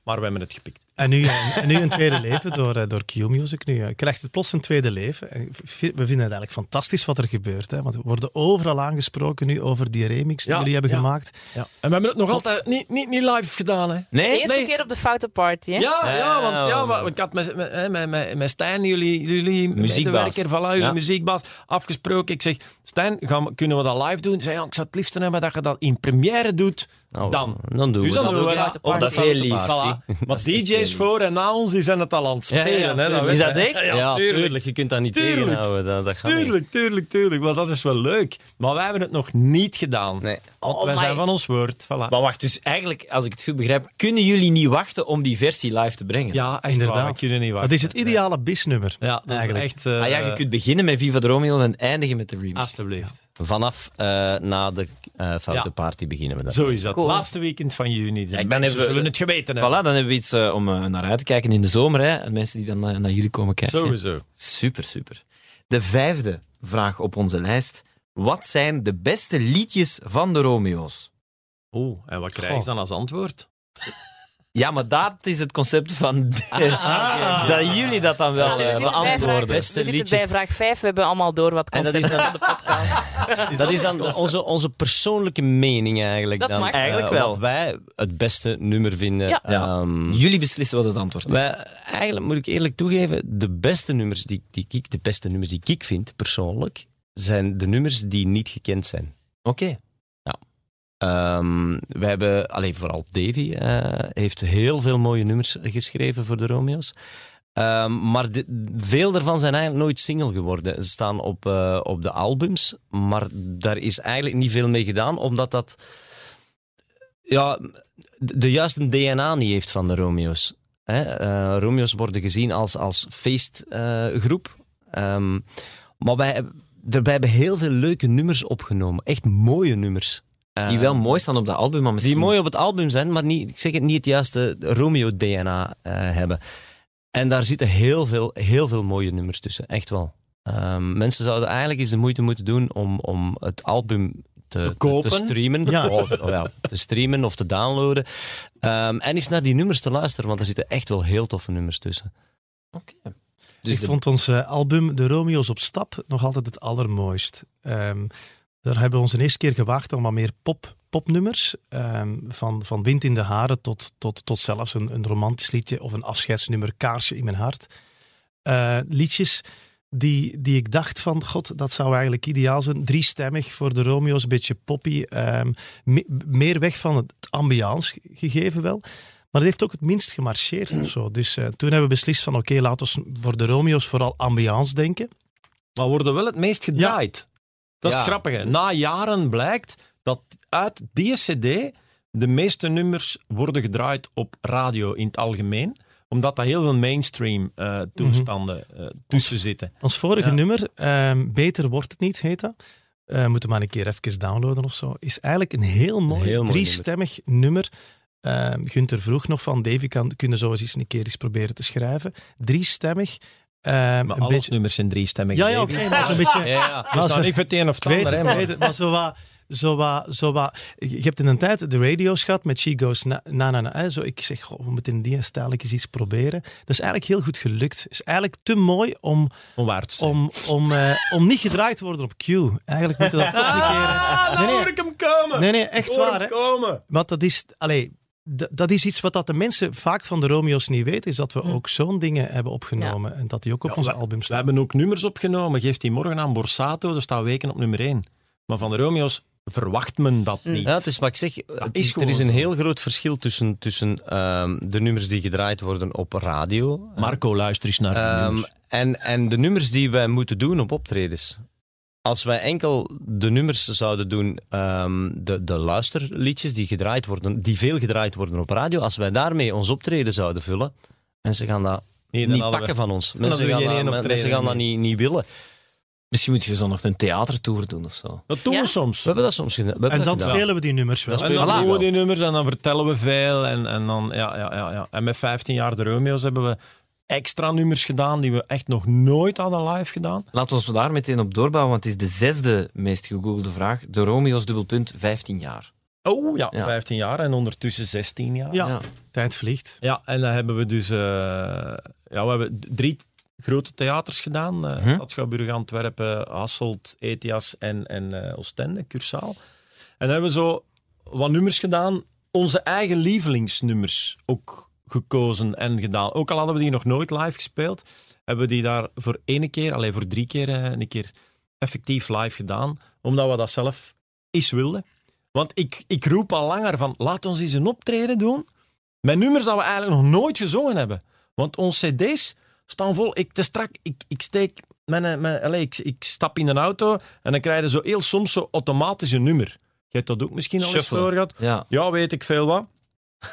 D: Maar we hebben het gepikt.
F: En nu, eh, en nu een tweede leven door, eh, door Q-Music. Nu eh, krijgt het plots een tweede leven. En v- We vinden het eigenlijk fantastisch wat er gebeurt. Hè? Want we worden overal aangesproken nu over die remix die
D: Ja,
F: jullie hebben
D: ja.
F: gemaakt.
D: Ja. En we hebben het nog altijd niet, niet, niet live gedaan, hè?
E: De
B: Nee?
E: eerste keer op de foute party, hè?
D: Ja, ja, want ja,
C: Oh.
D: maar ik had met, met, hè, met, met, met Stijn, jullie, jullie
B: Muziekbaas.
D: medewerker, voilà, jullie
B: Ja.
D: muziekbaas, afgesproken. Ik zeg, Stijn, gaan, we- kunnen we dat live doen? Hij Zei, ja, ik zou het liefst hebben dat je dat in première doet,
C: Nou,
D: dan.
C: dan doen
D: Dus
C: we
D: dan
C: dat.
D: doen we
E: Ja,
D: dat.
E: op
B: dat is heel lief.
D: Voilà. Maar DJ's is voor en na ons, die zijn het al aan het spelen. hè, dat
B: Is
D: weet
B: dat
D: je.
B: echt?
C: Ja, tuurlijk. Je kunt dat niet
D: Tuurlijk.
C: tegenhouden. Dat, dat gaat niet.
D: Tuurlijk, tuurlijk, tuurlijk. Want dat is wel leuk. Maar wij hebben het nog niet gedaan.
C: Nee.
D: Want
E: Oh
D: wij
E: my.
D: zijn van ons woord. Voilà.
B: Maar wacht, dus eigenlijk, als ik het goed begrijp, kunnen jullie niet wachten om die versie live te brengen?
D: Ja, echt
F: Inderdaad.
D: waar. We kunnen niet wachten.
F: Dat is het ideale bisnummer.
D: Ja, dat
F: Eigenlijk.
D: is echt... eh,
B: Ah ja, je kunt beginnen met Viva de Romeo's en eindigen met de remix.
D: Alsjeblieft.
C: Vanaf eh, na de eh foute
D: Ja.
C: party beginnen we dat.
D: Zo is dat.
E: Cool.
D: Laatste weekend van juni.
B: Ja, ik ben
D: Mensen
B: even-
D: zullen het geweten hebben.
B: Voilà, dan hebben we iets eh, om eh, naar uit te kijken in de zomer. Hè. En Mensen die dan eh, naar jullie komen kijken.
D: Sowieso.
B: Super, super. De vijfde vraag op onze lijst. Wat zijn de beste liedjes van de Romeo's?
D: Oeh, en wat krijg je dan als antwoord?
B: Ja, maar dat is het concept van... dat jullie dat dan wel
E: Ja,
B: eh,
E: we zitten bij vraag-
B: beantwoorden.
E: we zitten bij vraag 5. We hebben allemaal door wat
C: En dat is
E: concepten
C: dan-
E: van de podcast.
C: dat is dan onze, onze persoonlijke mening eigenlijk.
E: Dat
C: dan,
E: mag.
C: eh,
B: Eigenlijk wel.
C: Wat wij het beste nummer vinden.
E: Ja.
B: Ja.
C: Ehm,
B: eh, Jullie beslissen wat het antwoord is.
C: wij, eigenlijk moet ik eerlijk toegeven, de beste nummers die, die ik, de beste nummers die ik vind, persoonlijk, zijn de nummers die niet gekend zijn.
B: Oké.
C: Ehm, we hebben, alleen vooral Davy eh, heeft heel veel mooie nummers geschreven voor de Romeo's. Ehm, maar de- veel daarvan zijn eigenlijk nooit single geworden. Ze staan op, eh, op de albums, maar daar is eigenlijk niet veel mee gedaan, omdat dat ja, de de juiste DNA niet heeft van de Romeo's. Hè? eh, Romeo's worden gezien als, als feestgroep. Ehm, maar wij, daarbij hebben heel veel leuke nummers opgenomen. Echt mooie nummers.
B: Die
C: Eh,
B: wel mooi staan op dat album, maar misschien...
C: die mooi op het album zijn, maar niet, ik zeg het, niet het juiste Romeo-DNA eh, hebben. En daar zitten heel veel, heel veel mooie nummers tussen, echt wel. Ehm, mensen zouden eigenlijk eens de moeite moeten doen om, om het album te, te- te,
D: kopen?
C: streamen. Of, of ja, te streamen of te downloaden. Ehm, en eens naar die nummers te luisteren, want er zitten echt wel heel toffe nummers tussen.
B: Oké.
F: Dus ik
B: de-
F: vond ons eh, album De Romeo's op Stap nog altijd het allermooist. Ehm, daar hebben we ons een eerste keer gewaagd aan wat meer pop, popnummers. Ehm, van, van Wind in de Haren tot, tot, tot zelfs een, een romantisch liedje of een afscheidsnummer Kaarsje in mijn hart. Eh, liedjes die, die ik dacht van, god, dat zou eigenlijk ideaal zijn. Driestemmig voor de Romeo's, een beetje poppy. ehm, me- meer weg van het ambiance ge- gegeven wel. Maar het heeft ook het minst gemarcheerd of zo. Dus eh, toen hebben we beslist van oké, laten we voor de Romeo's vooral ambiance denken.
D: Maar worden wel het meest gedraaid. Dat is
C: Ja.
D: het grappige. Na jaren blijkt dat uit die cd de meeste nummers worden gedraaid op radio in het algemeen. Omdat daar heel veel mainstream eh, toestanden eh, tussen zitten.
F: Ons vorige
D: Ja.
F: nummer, ehm, Beter Wordt Het Niet, heet dat. Eh moeten we maar een keer even downloaden of zo. Is eigenlijk een heel mooi,
C: heel mooi
F: driestemmig nummer. Ehm, Gunther vroeg nog van, Davy, kan, kunnen zo eens een keer eens proberen te schrijven. Driestemmig. ehm,
D: Maar
F: een
D: alle
F: beetje...
D: nummers zijn driestemmig.
F: Ja, ja, oké, maar dat is een beetje...
C: Ja, Dus
F: dat
D: Dat is
F: is
D: nou
F: een-
D: niet voor het een of het
F: Ik weet
D: ander.
F: het,
D: hè,
F: ik
D: maar-
F: weet het, maar zo wat, zo wat, zo wat. Je hebt in een tijd de radio's gehad met She Goes Na Na Na. na hè. Zo, ik zeg, goh, we moeten in die stijl eens iets proberen. Dat is eigenlijk heel goed gelukt. is eigenlijk te mooi om,
D: Om waar te zijn.
F: om, om, eh, om niet gedraaid te worden op Q. Eigenlijk moeten we dat toch een keer...
D: Ah,
F: Nee, nee.
D: ik hem komen!
F: Nee, nee, echt
D: Hoor hem
F: waar. Hè?
D: komen!
F: Want dat is, allee, d- dat is iets wat dat de mensen vaak van de Romeo's niet weten, is dat we ook zo'n dingen hebben opgenomen en dat die ook op ons album
D: We
F: staan.
D: hebben ook nummers opgenomen. Geef die morgen aan Borsato, dat staat weken op nummer 1. Maar van de Romeo's verwacht men dat
E: Mm.
D: niet.
C: Ja, het is wat ik zeg. Het
D: is
C: is, er
D: gewoon
C: is een
D: zo.
C: heel groot verschil tussen, tussen ehm, de nummers die gedraaid worden op radio.
D: Marco, luister eens naar die
C: Ehm,
D: nummers.
C: en, en de nummers die wij moeten doen op optredens. Als wij enkel de nummers zouden doen, ehm, de, de luisterliedjes die gedraaid worden, die veel gedraaid worden op radio, als wij daarmee ons optreden zouden vullen, en ze gaan dat
D: Nee, dan
C: niet
D: hadden we-
C: pakken van ons.
D: hadden
C: Mensen
D: we
C: gaan,
D: geen
C: dat,
D: één
C: men-
D: optreden
C: mensen gaan dat
D: meer.
C: niet, niet willen.
B: Misschien moet je zo nog een theatertour doen of zo.
D: Dat doen
E: Ja.
D: we soms.
C: We hebben dat soms gedaan. We hebben
F: En
C: dat
F: dan
C: gedaan.
F: spelen we die nummers wel.
D: En dan
C: Voilà.
D: doen we die nummers en dan vertellen we veel. En, en, dan, ja, ja, ja, ja. en met 15 jaar de Romeo's hebben we extra nummers gedaan die we echt nog nooit hadden live gedaan.
B: Laten we daar meteen op doorbouwen, want het is de zesde meest gegoogelde vraag. De Romeo's dubbelpunt 15 jaar.
D: Oh ja,
B: Ja.
D: 15 jaar en ondertussen 16 jaar.
F: Ja, tijd vliegt.
D: Ja, en dan hebben we dus eh, ja, we hebben d- drie grote theaters gedaan. eh
B: Mhm.
D: Stadschouwburg Antwerpen, Hasselt, Ethias en, en eh, Oostende, Cursaal. En dan hebben we zo wat nummers gedaan. Onze eigen lievelingsnummers ook gekozen en gedaan. Ook al hadden we die nog nooit live gespeeld, hebben we die daar voor ene keer, alleen voor drie keer, eh, een keer effectief live gedaan. Omdat we dat zelf eens wilden. Want ik, ik roep al langer van, laat ons eens een optreden doen Met nummers dat we eigenlijk nog nooit gezongen hebben. Want onze cd's staan vol. Ik, te strak, ik, ik steek... Mijn, eh, mijn, allez, ik, ik stap in een auto en dan krijg je zo heel soms zo automatisch een nummer. Je hebt dat ook misschien al eens
B: Shuffle.
D: voor gehad.
B: Ja.
D: Ja, weet ik veel wat.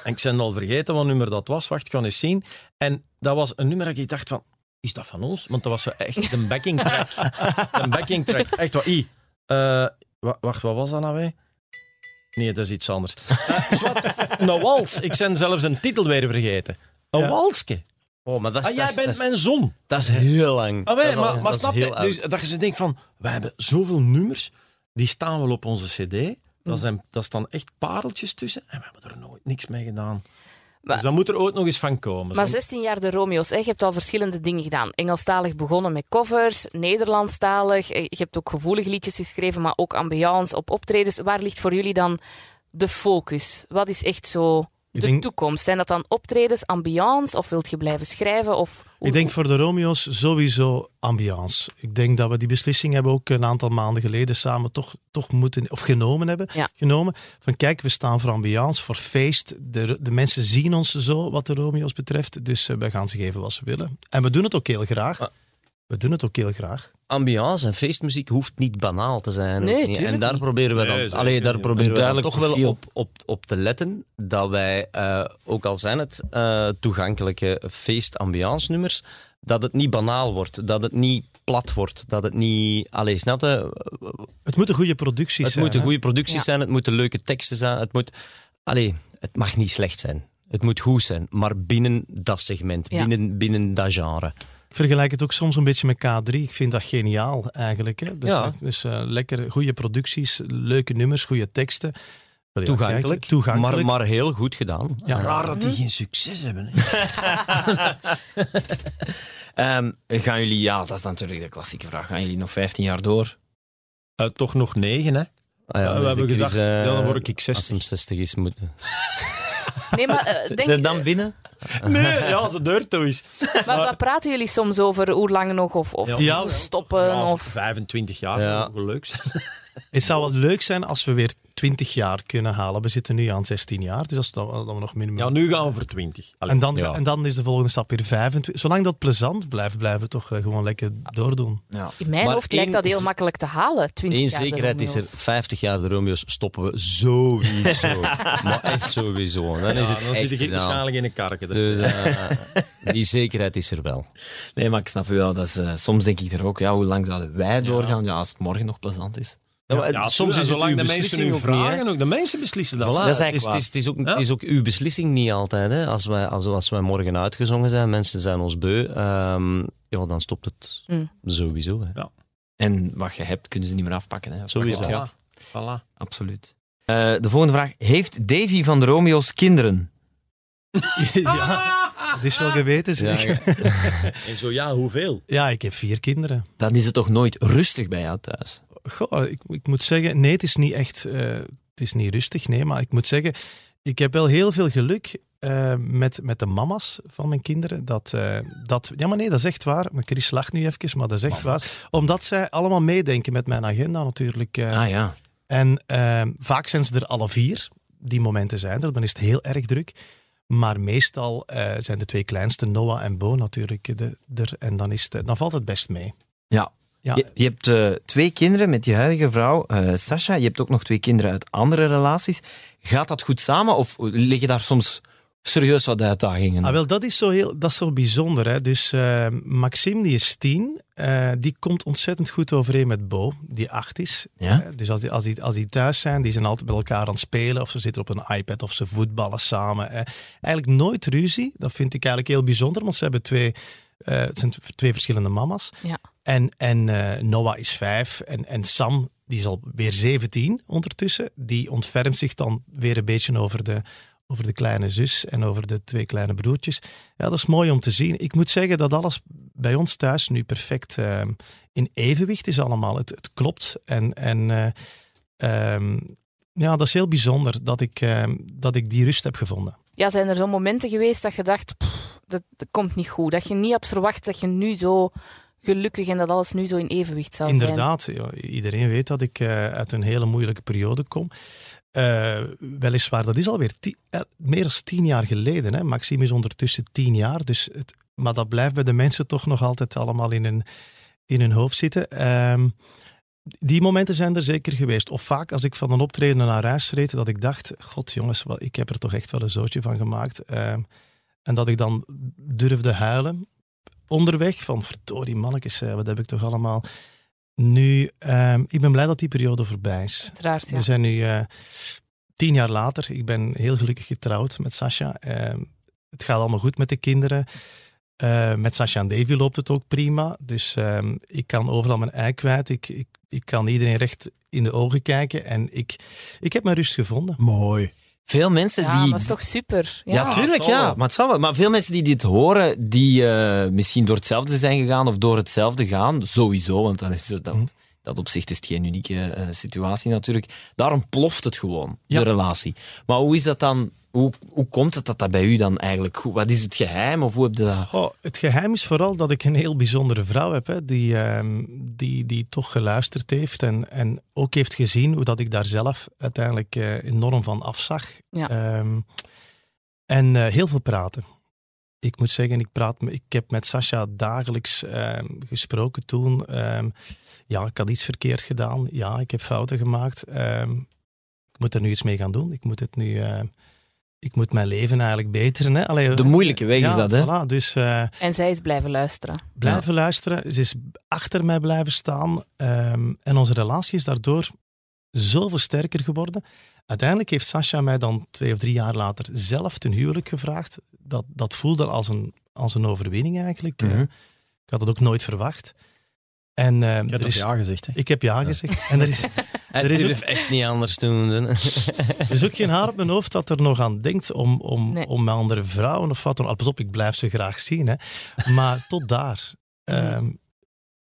D: En ik ben al vergeten wat nummer dat was. Wacht, ik ga eens zien. En dat was een nummer dat ik dacht van... Is dat van ons? Want dat was zo echt een backing track. een backing track. Echt wat. I. Eh, wa- wacht, wat was dat nou weer? Nee, dat is iets anders. Eh, zwart, een wals. Ik ben zelfs een titel weer vergeten. Een
F: Ja.
D: walsje.
C: Oh, maar dat is,
D: Ah,
C: dat is-
D: jij bent
C: dat is-
D: mijn zon.
C: dat is heel lang.
D: Ah,
C: dat
D: wij,
C: is al-
D: maar, maar
C: dat is
D: snap
C: heel
D: je?
C: oud.
D: Dus, dat je zo denkt van, wij hebben zoveel nummers, die staan wel op onze cd. Daar, zijn, daar staan echt pareltjes tussen en we hebben er nooit niks mee gedaan.
E: Maar-
D: dus dan moet er ooit nog eens van komen.
E: Maar
D: Zo-
E: 16 jaar de Romeo's, hè? je hebt al verschillende dingen gedaan. Engelstalig begonnen met covers, Nederlandstalig. eh, Je hebt ook gevoelige liedjes geschreven, maar ook ambiance op optredens. Waar ligt voor jullie dan de focus? Wat is echt zo de
F: Ik denk-
E: toekomst? Zijn dat dan optredens, ambiance of wilt je blijven schrijven? Of hoe-
F: Ik denk voor de Romeo's sowieso ambiance. Ik denk dat we die beslissing hebben ook een aantal maanden geleden samen toch, toch moeten, of genomen hebben.
E: Ja.
F: Genomen van kijk, we staan voor ambiance, voor feest. De, de mensen zien ons zo wat de Romeo's betreft. Dus eh, wij gaan ze geven wat ze willen. En we doen het ook heel graag.
C: Ah.
F: We doen het ook heel graag.
C: ambiance en feestmuziek hoeft niet banaal te zijn.
E: Nee,
C: Ook niet.
E: tuurlijk
C: En daar
E: niet.
C: proberen we
D: Nee,
C: dan,
D: zeker
C: allee, daar
D: niet.
C: proberen we dan
B: duidelijk
C: toch wel
B: profiel.
C: op, op, op te letten dat wij, eh, ook al zijn het eh, toegankelijke feestambiance nummers, dat het niet banaal wordt, dat het niet plat wordt, dat het niet... Allee, snap je?
F: Het moeten goede producties
C: Het
F: zijn.
C: moeten
F: hè?
C: goede producties
E: Ja.
C: zijn, het moeten leuke teksten zijn, het moet... Allee, het mag niet slecht zijn. Het moet goed zijn, maar binnen dat segment,
E: Ja.
C: binnen, binnen dat genre.
F: Ik vergelijk het ook soms een beetje met K3. Ik vind dat geniaal eigenlijk. Hè? Dus,
C: Ja.
F: dus eh, lekker goede producties, leuke nummers, goede teksten. Wel, ja,
C: Toegankelijk,
F: kijk, toegankelijk.
C: Maar, maar heel goed gedaan.
F: Ja.
D: Raar dat die geen succes hebben. hè.
B: Ehm, gaan jullie, ja, dat is natuurlijk de klassieke vraag. Gaan jullie nog 15 jaar door?
D: Eh, toch nog negen, hè?
C: Ah ja,
D: Ja, we
C: dus
D: hebben
C: de Chris,
D: gedacht,
C: eh,
D: ja, dan word ik 60.
C: Als hem 60 is, moet...
E: Nee, maar, eh, denk,
B: Zijn dan binnen?
D: Nee, ja, als het deur toe is.
E: eh, maar wat praten jullie soms over? Hoe lang nog? Of, of
F: Ja.
E: hoe stoppen?
D: Ja,
E: of...
D: 25 jaar,
C: Ja.
D: dat zou Ah, wel leuk zijn.
F: Het zou wel leuk zijn als we weer 20 jaar kunnen halen. We zitten nu aan 16 jaar, dus als dat, dat we nog minimum.
D: Ja, nu gaan we voor 20. Allee,
F: en, dan,
C: ja.
F: en dan is de volgende stap weer 25. Zolang dat plezant blijft, blijven we toch eh, gewoon lekker doordoen.
B: Ja.
E: In mijn
C: Maar
E: hoofd lijkt dat
C: één
E: heel
C: z-
E: makkelijk te halen. 20
C: Eén
E: jaar de
C: zekerheid is er,
E: Romeo's.
C: 50 jaar de Romeo's stoppen we sowieso. maar echt sowieso. Dan is
D: ja,
C: het
D: dan
C: echt
D: zit ik
C: gedaan.
D: waarschijnlijk in een karken. hè.
C: Dus eh, die zekerheid is er wel.
B: Nee, maar ik snap u wel. Dat is, eh, soms denk ik er ook, ja, hoe lang zouden wij doorgaan? Ja, als het morgen nog plezant is.
C: Ja, maar
D: Ja,
C: soms is het uw
D: zolang de mensen
C: beslissing
D: nu
C: ook niet, hè.
D: vragen, ook de mensen beslissen dat.
C: Voilà,
B: is
C: het, is,
B: eigenlijk
C: het, is, het, is ook,
D: Ja.
C: het is ook uw beslissing niet altijd. Hè. Als, wij, als, als wij morgen uitgezongen zijn, mensen zijn ons beu, ehm, ja, dan stopt het
E: Mm.
C: sowieso. Hè.
B: En wat je hebt, kunnen ze niet meer afpakken. Hè.
C: Zo is
B: Wat je
C: dat.
B: had,
D: Voilà.
B: Absoluut. Eh, de volgende vraag. Heeft Davy van de Romeo's kinderen?
F: ja, het is wel geweten.
C: Ja,
F: Zeg. Ja,
D: En zo ja, hoeveel?
F: ik heb vier kinderen.
B: Dan is het toch nooit rustig bij jou thuis?
F: Goh, ik, ik moet zeggen, nee, het is niet echt. eh, het is niet rustig, nee, maar ik moet zeggen, ik heb wel heel veel geluk. eh, met, met de mama's van mijn kinderen. Dat, eh, dat, ja, maar nee, dat is echt waar. Maar Chris lacht nu even, maar dat is echt waar. Omdat zij allemaal meedenken met mijn agenda natuurlijk. eh,
B: Ah ja.
F: En ehm, vaak zijn ze er alle vier. Die momenten zijn er, dan is het heel erg druk. Maar meestal eh, zijn de twee kleinste, Noah en Bo natuurlijk, eh, de, er. En dan, is het, eh, dan valt het best mee.
B: Ja.
F: Ja,
B: Je, je hebt eh, twee kinderen met je huidige vrouw, eh Sasha. Je hebt ook nog twee kinderen uit andere relaties. Gaat dat goed samen of liggen daar soms serieus wat uitdagingen?
F: Ah, wel, dat is zo, heel, dat is zo bijzonder. Hè? Dus eh, Maxime, die is tien, eh, die komt ontzettend goed overeen met Bo, die acht is.
B: Ja?
F: Hè, Dus als die, als, die, als die thuis zijn, die zijn altijd met elkaar aan het spelen. Of ze zitten op een iPad of ze voetballen samen. hè. Eigenlijk nooit ruzie. Dat vind ik eigenlijk heel bijzonder, want ze hebben twee, eh, het zijn t- twee verschillende mama's.
E: Ja.
F: En, en eh, Noah is vijf en, en Sam, die is alweer zeventien ondertussen. Die ontfermt zich dan weer een beetje over de, over de kleine zus en over de twee kleine broertjes. Ja, dat is mooi om te zien. Ik moet zeggen dat alles bij ons thuis nu perfect ehm, in evenwicht is allemaal. Het, het klopt. En, en eh, ehm, ja, dat is heel bijzonder dat ik, ehm, dat ik die rust heb gevonden.
E: Ja, zijn er zo momenten geweest dat je dacht, pff, dat, dat komt niet goed. Dat je niet had verwacht dat je nu zo gelukkig en dat alles nu zo in evenwicht zou
F: Inderdaad, ja, iedereen weet dat ik eh, uit een hele moeilijke periode kom. Eh, weliswaar, dat is alweer ti- eh, meer dan tien jaar geleden. Hè. Maxime is ondertussen tien jaar, dus het, maar dat blijft bij de mensen toch nog altijd allemaal in hun, in hun hoofd zitten. Ehm, die momenten zijn er zeker geweest. Of vaak als ik van een optreden naar huis reed, dat ik dacht, god jongens, wat, ik heb er toch echt wel een zootje van gemaakt. Ehm, en dat ik dan durfde huilen onderweg van verdorie mannetjes, eh, wat heb ik toch allemaal. Nu, ehm, ik ben blij dat die periode voorbij is.
E: zijn. Uiteraard, ja.
F: We zijn nu eh, tien jaar later. Ik ben heel gelukkig getrouwd met Sascha. Ehm, het gaat allemaal goed met de kinderen. Eh, met Sascha en Davy loopt het ook prima. Dus ehm, ik kan overal mijn ei kwijt. Ik, ik, ik kan iedereen recht in de ogen kijken. En ik, ik heb mijn rust gevonden.
D: Mooi.
B: Veel mensen
E: Ja,
B: die...
E: dat is toch super. Ja,
B: Ja, tuurlijk,
D: zal
B: ja.
D: wel.
B: Maar, het zal wel. maar veel mensen die dit horen, die eh, misschien door hetzelfde zijn gegaan of door hetzelfde gaan, sowieso, want dan is het, dat,
F: Hm.
B: dat op zich is het geen unieke eh, situatie natuurlijk. Daarom ploft het gewoon,
F: Ja.
B: de relatie. Maar hoe is dat dan... Hoe, hoe komt het dat dat bij u dan eigenlijk goed... Wat is het geheim of hoe heb je dat...
F: Oh, het geheim is vooral dat ik een heel bijzondere vrouw heb, hè, die, ehm, die, die toch geluisterd heeft en, en ook heeft gezien hoe dat ik daar zelf uiteindelijk eh, enorm van afzag.
E: Ja.
F: Ehm, en eh, heel veel praten. Ik moet zeggen, ik, praat, me- ik heb met Sascha dagelijks ehm, gesproken toen. Ehm, ja, ik had iets verkeerd gedaan. Ja, ik heb fouten gemaakt. Ehm, ik moet er nu iets mee gaan doen. Ik moet het nu... ehm, ik moet mijn leven eigenlijk beteren. Hè? Allee,
B: De moeilijke weg
F: ja,
B: is dat, hè?
F: voilà. dus eh,
E: En zij is blijven luisteren.
F: blijven luisteren. Ze is achter mij blijven staan. ehm, en onze relatie is daardoor zoveel sterker geworden. Uiteindelijk heeft Sascha mij dan twee of drie jaar later zelf ten huwelijk gevraagd. Dat, dat voelde als een, als een overwinning eigenlijk.
D: Mhm.
F: Eh, ik had het ook nooit verwacht. En, ehm,
D: Ik
F: er
D: heb
F: is,
D: toch ja gezegd, hè?
F: ik heb ja gezegd. En er is,
C: Hij
F: Er is
C: durft echt niet anders te doen. hè.
F: er is ook geen haar op mijn hoofd dat er nog aan denkt om, om,
E: Nee.
F: om met andere vrouwen of wat dan ook. Pas op, ik blijf ze graag zien. Hè. Maar tot daar.
E: Mm.
F: Ehm,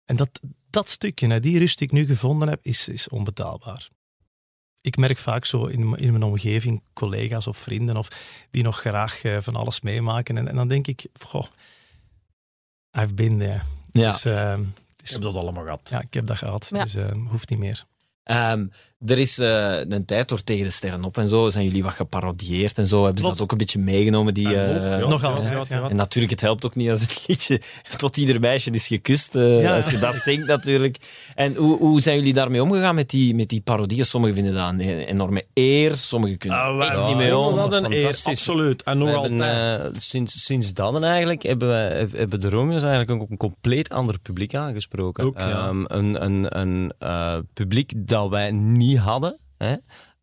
F: en dat, dat stukje, hè, die rust die ik nu gevonden heb, is, is onbetaalbaar. Ik merk vaak zo in, m- in mijn omgeving collega's of vrienden of die nog graag eh, van alles meemaken. En, en dan denk ik, goh, I've been there.
B: Ja.
F: Dus, ehm,
D: Ik heb dat allemaal gehad.
F: ja, ik heb dat gehad,
E: Ja.
F: dus ehm, hoeft niet meer.
B: Ehm, er is eh, een tijd door tegen de sterren op en zo, zijn jullie wat geparodieerd en zo, hebben ze
F: Klopt.
B: dat ook een beetje meegenomen, die...
D: En nog,
B: eh,
D: ja.
F: nog
D: ja,
F: altijd,
D: ja, ja.
F: ja.
B: En natuurlijk, het helpt ook niet als het liedje tot ieder meisje is gekust. eh,
F: Ja.
B: Als je dat zingt natuurlijk. En hoe, hoe zijn jullie daarmee omgegaan met die, met die parodieën? Sommigen vinden dat een enorme eer, sommigen kunnen
D: Ah,
B: er echt niet mee om.
D: Wat een eer,
C: Fantastisch.
D: absoluut. En nog
C: We hebben,
D: altijd.
C: eh, sinds, sinds dan eigenlijk hebben, wij, hebben de Romeo's eigenlijk ook een compleet ander publiek aangesproken.
D: Ook, ja.
C: Ehm, een een, een eh, publiek dat wij niet hadden. Hè?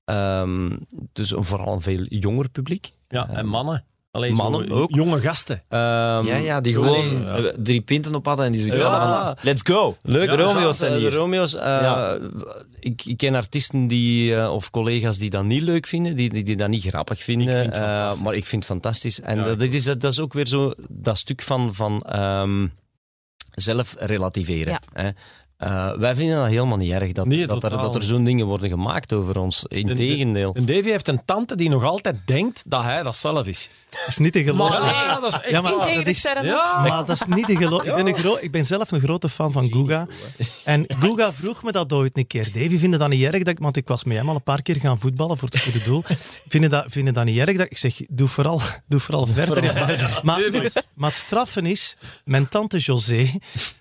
C: Ehm, dus een- vooral een veel jonger publiek.
D: ja, en mannen. Alleen
C: mannen
D: zo, eh,
C: ook.
D: Jonge gasten.
C: Ehm,
B: Ja, ja, die
D: Sorry.
B: gewoon eh, drie pinten op hadden en die zoiets
C: Ja.
B: hadden van, let's go.
C: Leuk,
B: de Romeo's zijn
C: de
B: hier.
C: Romeo's, eh,
B: Ja.
C: ik, ik ken artiesten die, eh, of collega's die dat niet leuk vinden, die, die, die dat niet grappig vinden.
D: Ik vind het
C: eh,
D: fantastisch.
C: maar ik vind het fantastisch. En
D: Ja,
C: dat, dat is, dat is ook weer zo dat stuk van, van ehm, zelf relativeren.
E: Ja.
C: Hè? Eh, wij vinden dat helemaal niet erg dat, dat,
D: Nee,
C: er,
D: totaal
C: dat er
D: niet.
C: zo'n dingen worden gemaakt over ons. Integendeel.
D: En Davy heeft een tante die nog altijd denkt dat hij dat zelf is.
F: Dat is niet te geloven.
E: Maar-
D: Ja, dat is
F: Ja,
D: echt
E: Ging
F: maar
E: tegen
F: dat
E: de
F: is-
E: sterren op.
D: Ja.
F: Maar dat is niet een gelo- Ik ben, een gro- ik ben zelf een grote fan van Guga. En Guga vroeg me dat ooit een keer. Davy vindt dat niet erg, dat ik, want ik was met hem al een paar keer gaan voetballen voor het goede doel. Vind je dat, vind je dat niet erg? Dat, ik zeg, doe vooral, doe vooral verder. maar, maar het straffen is, mijn tante José,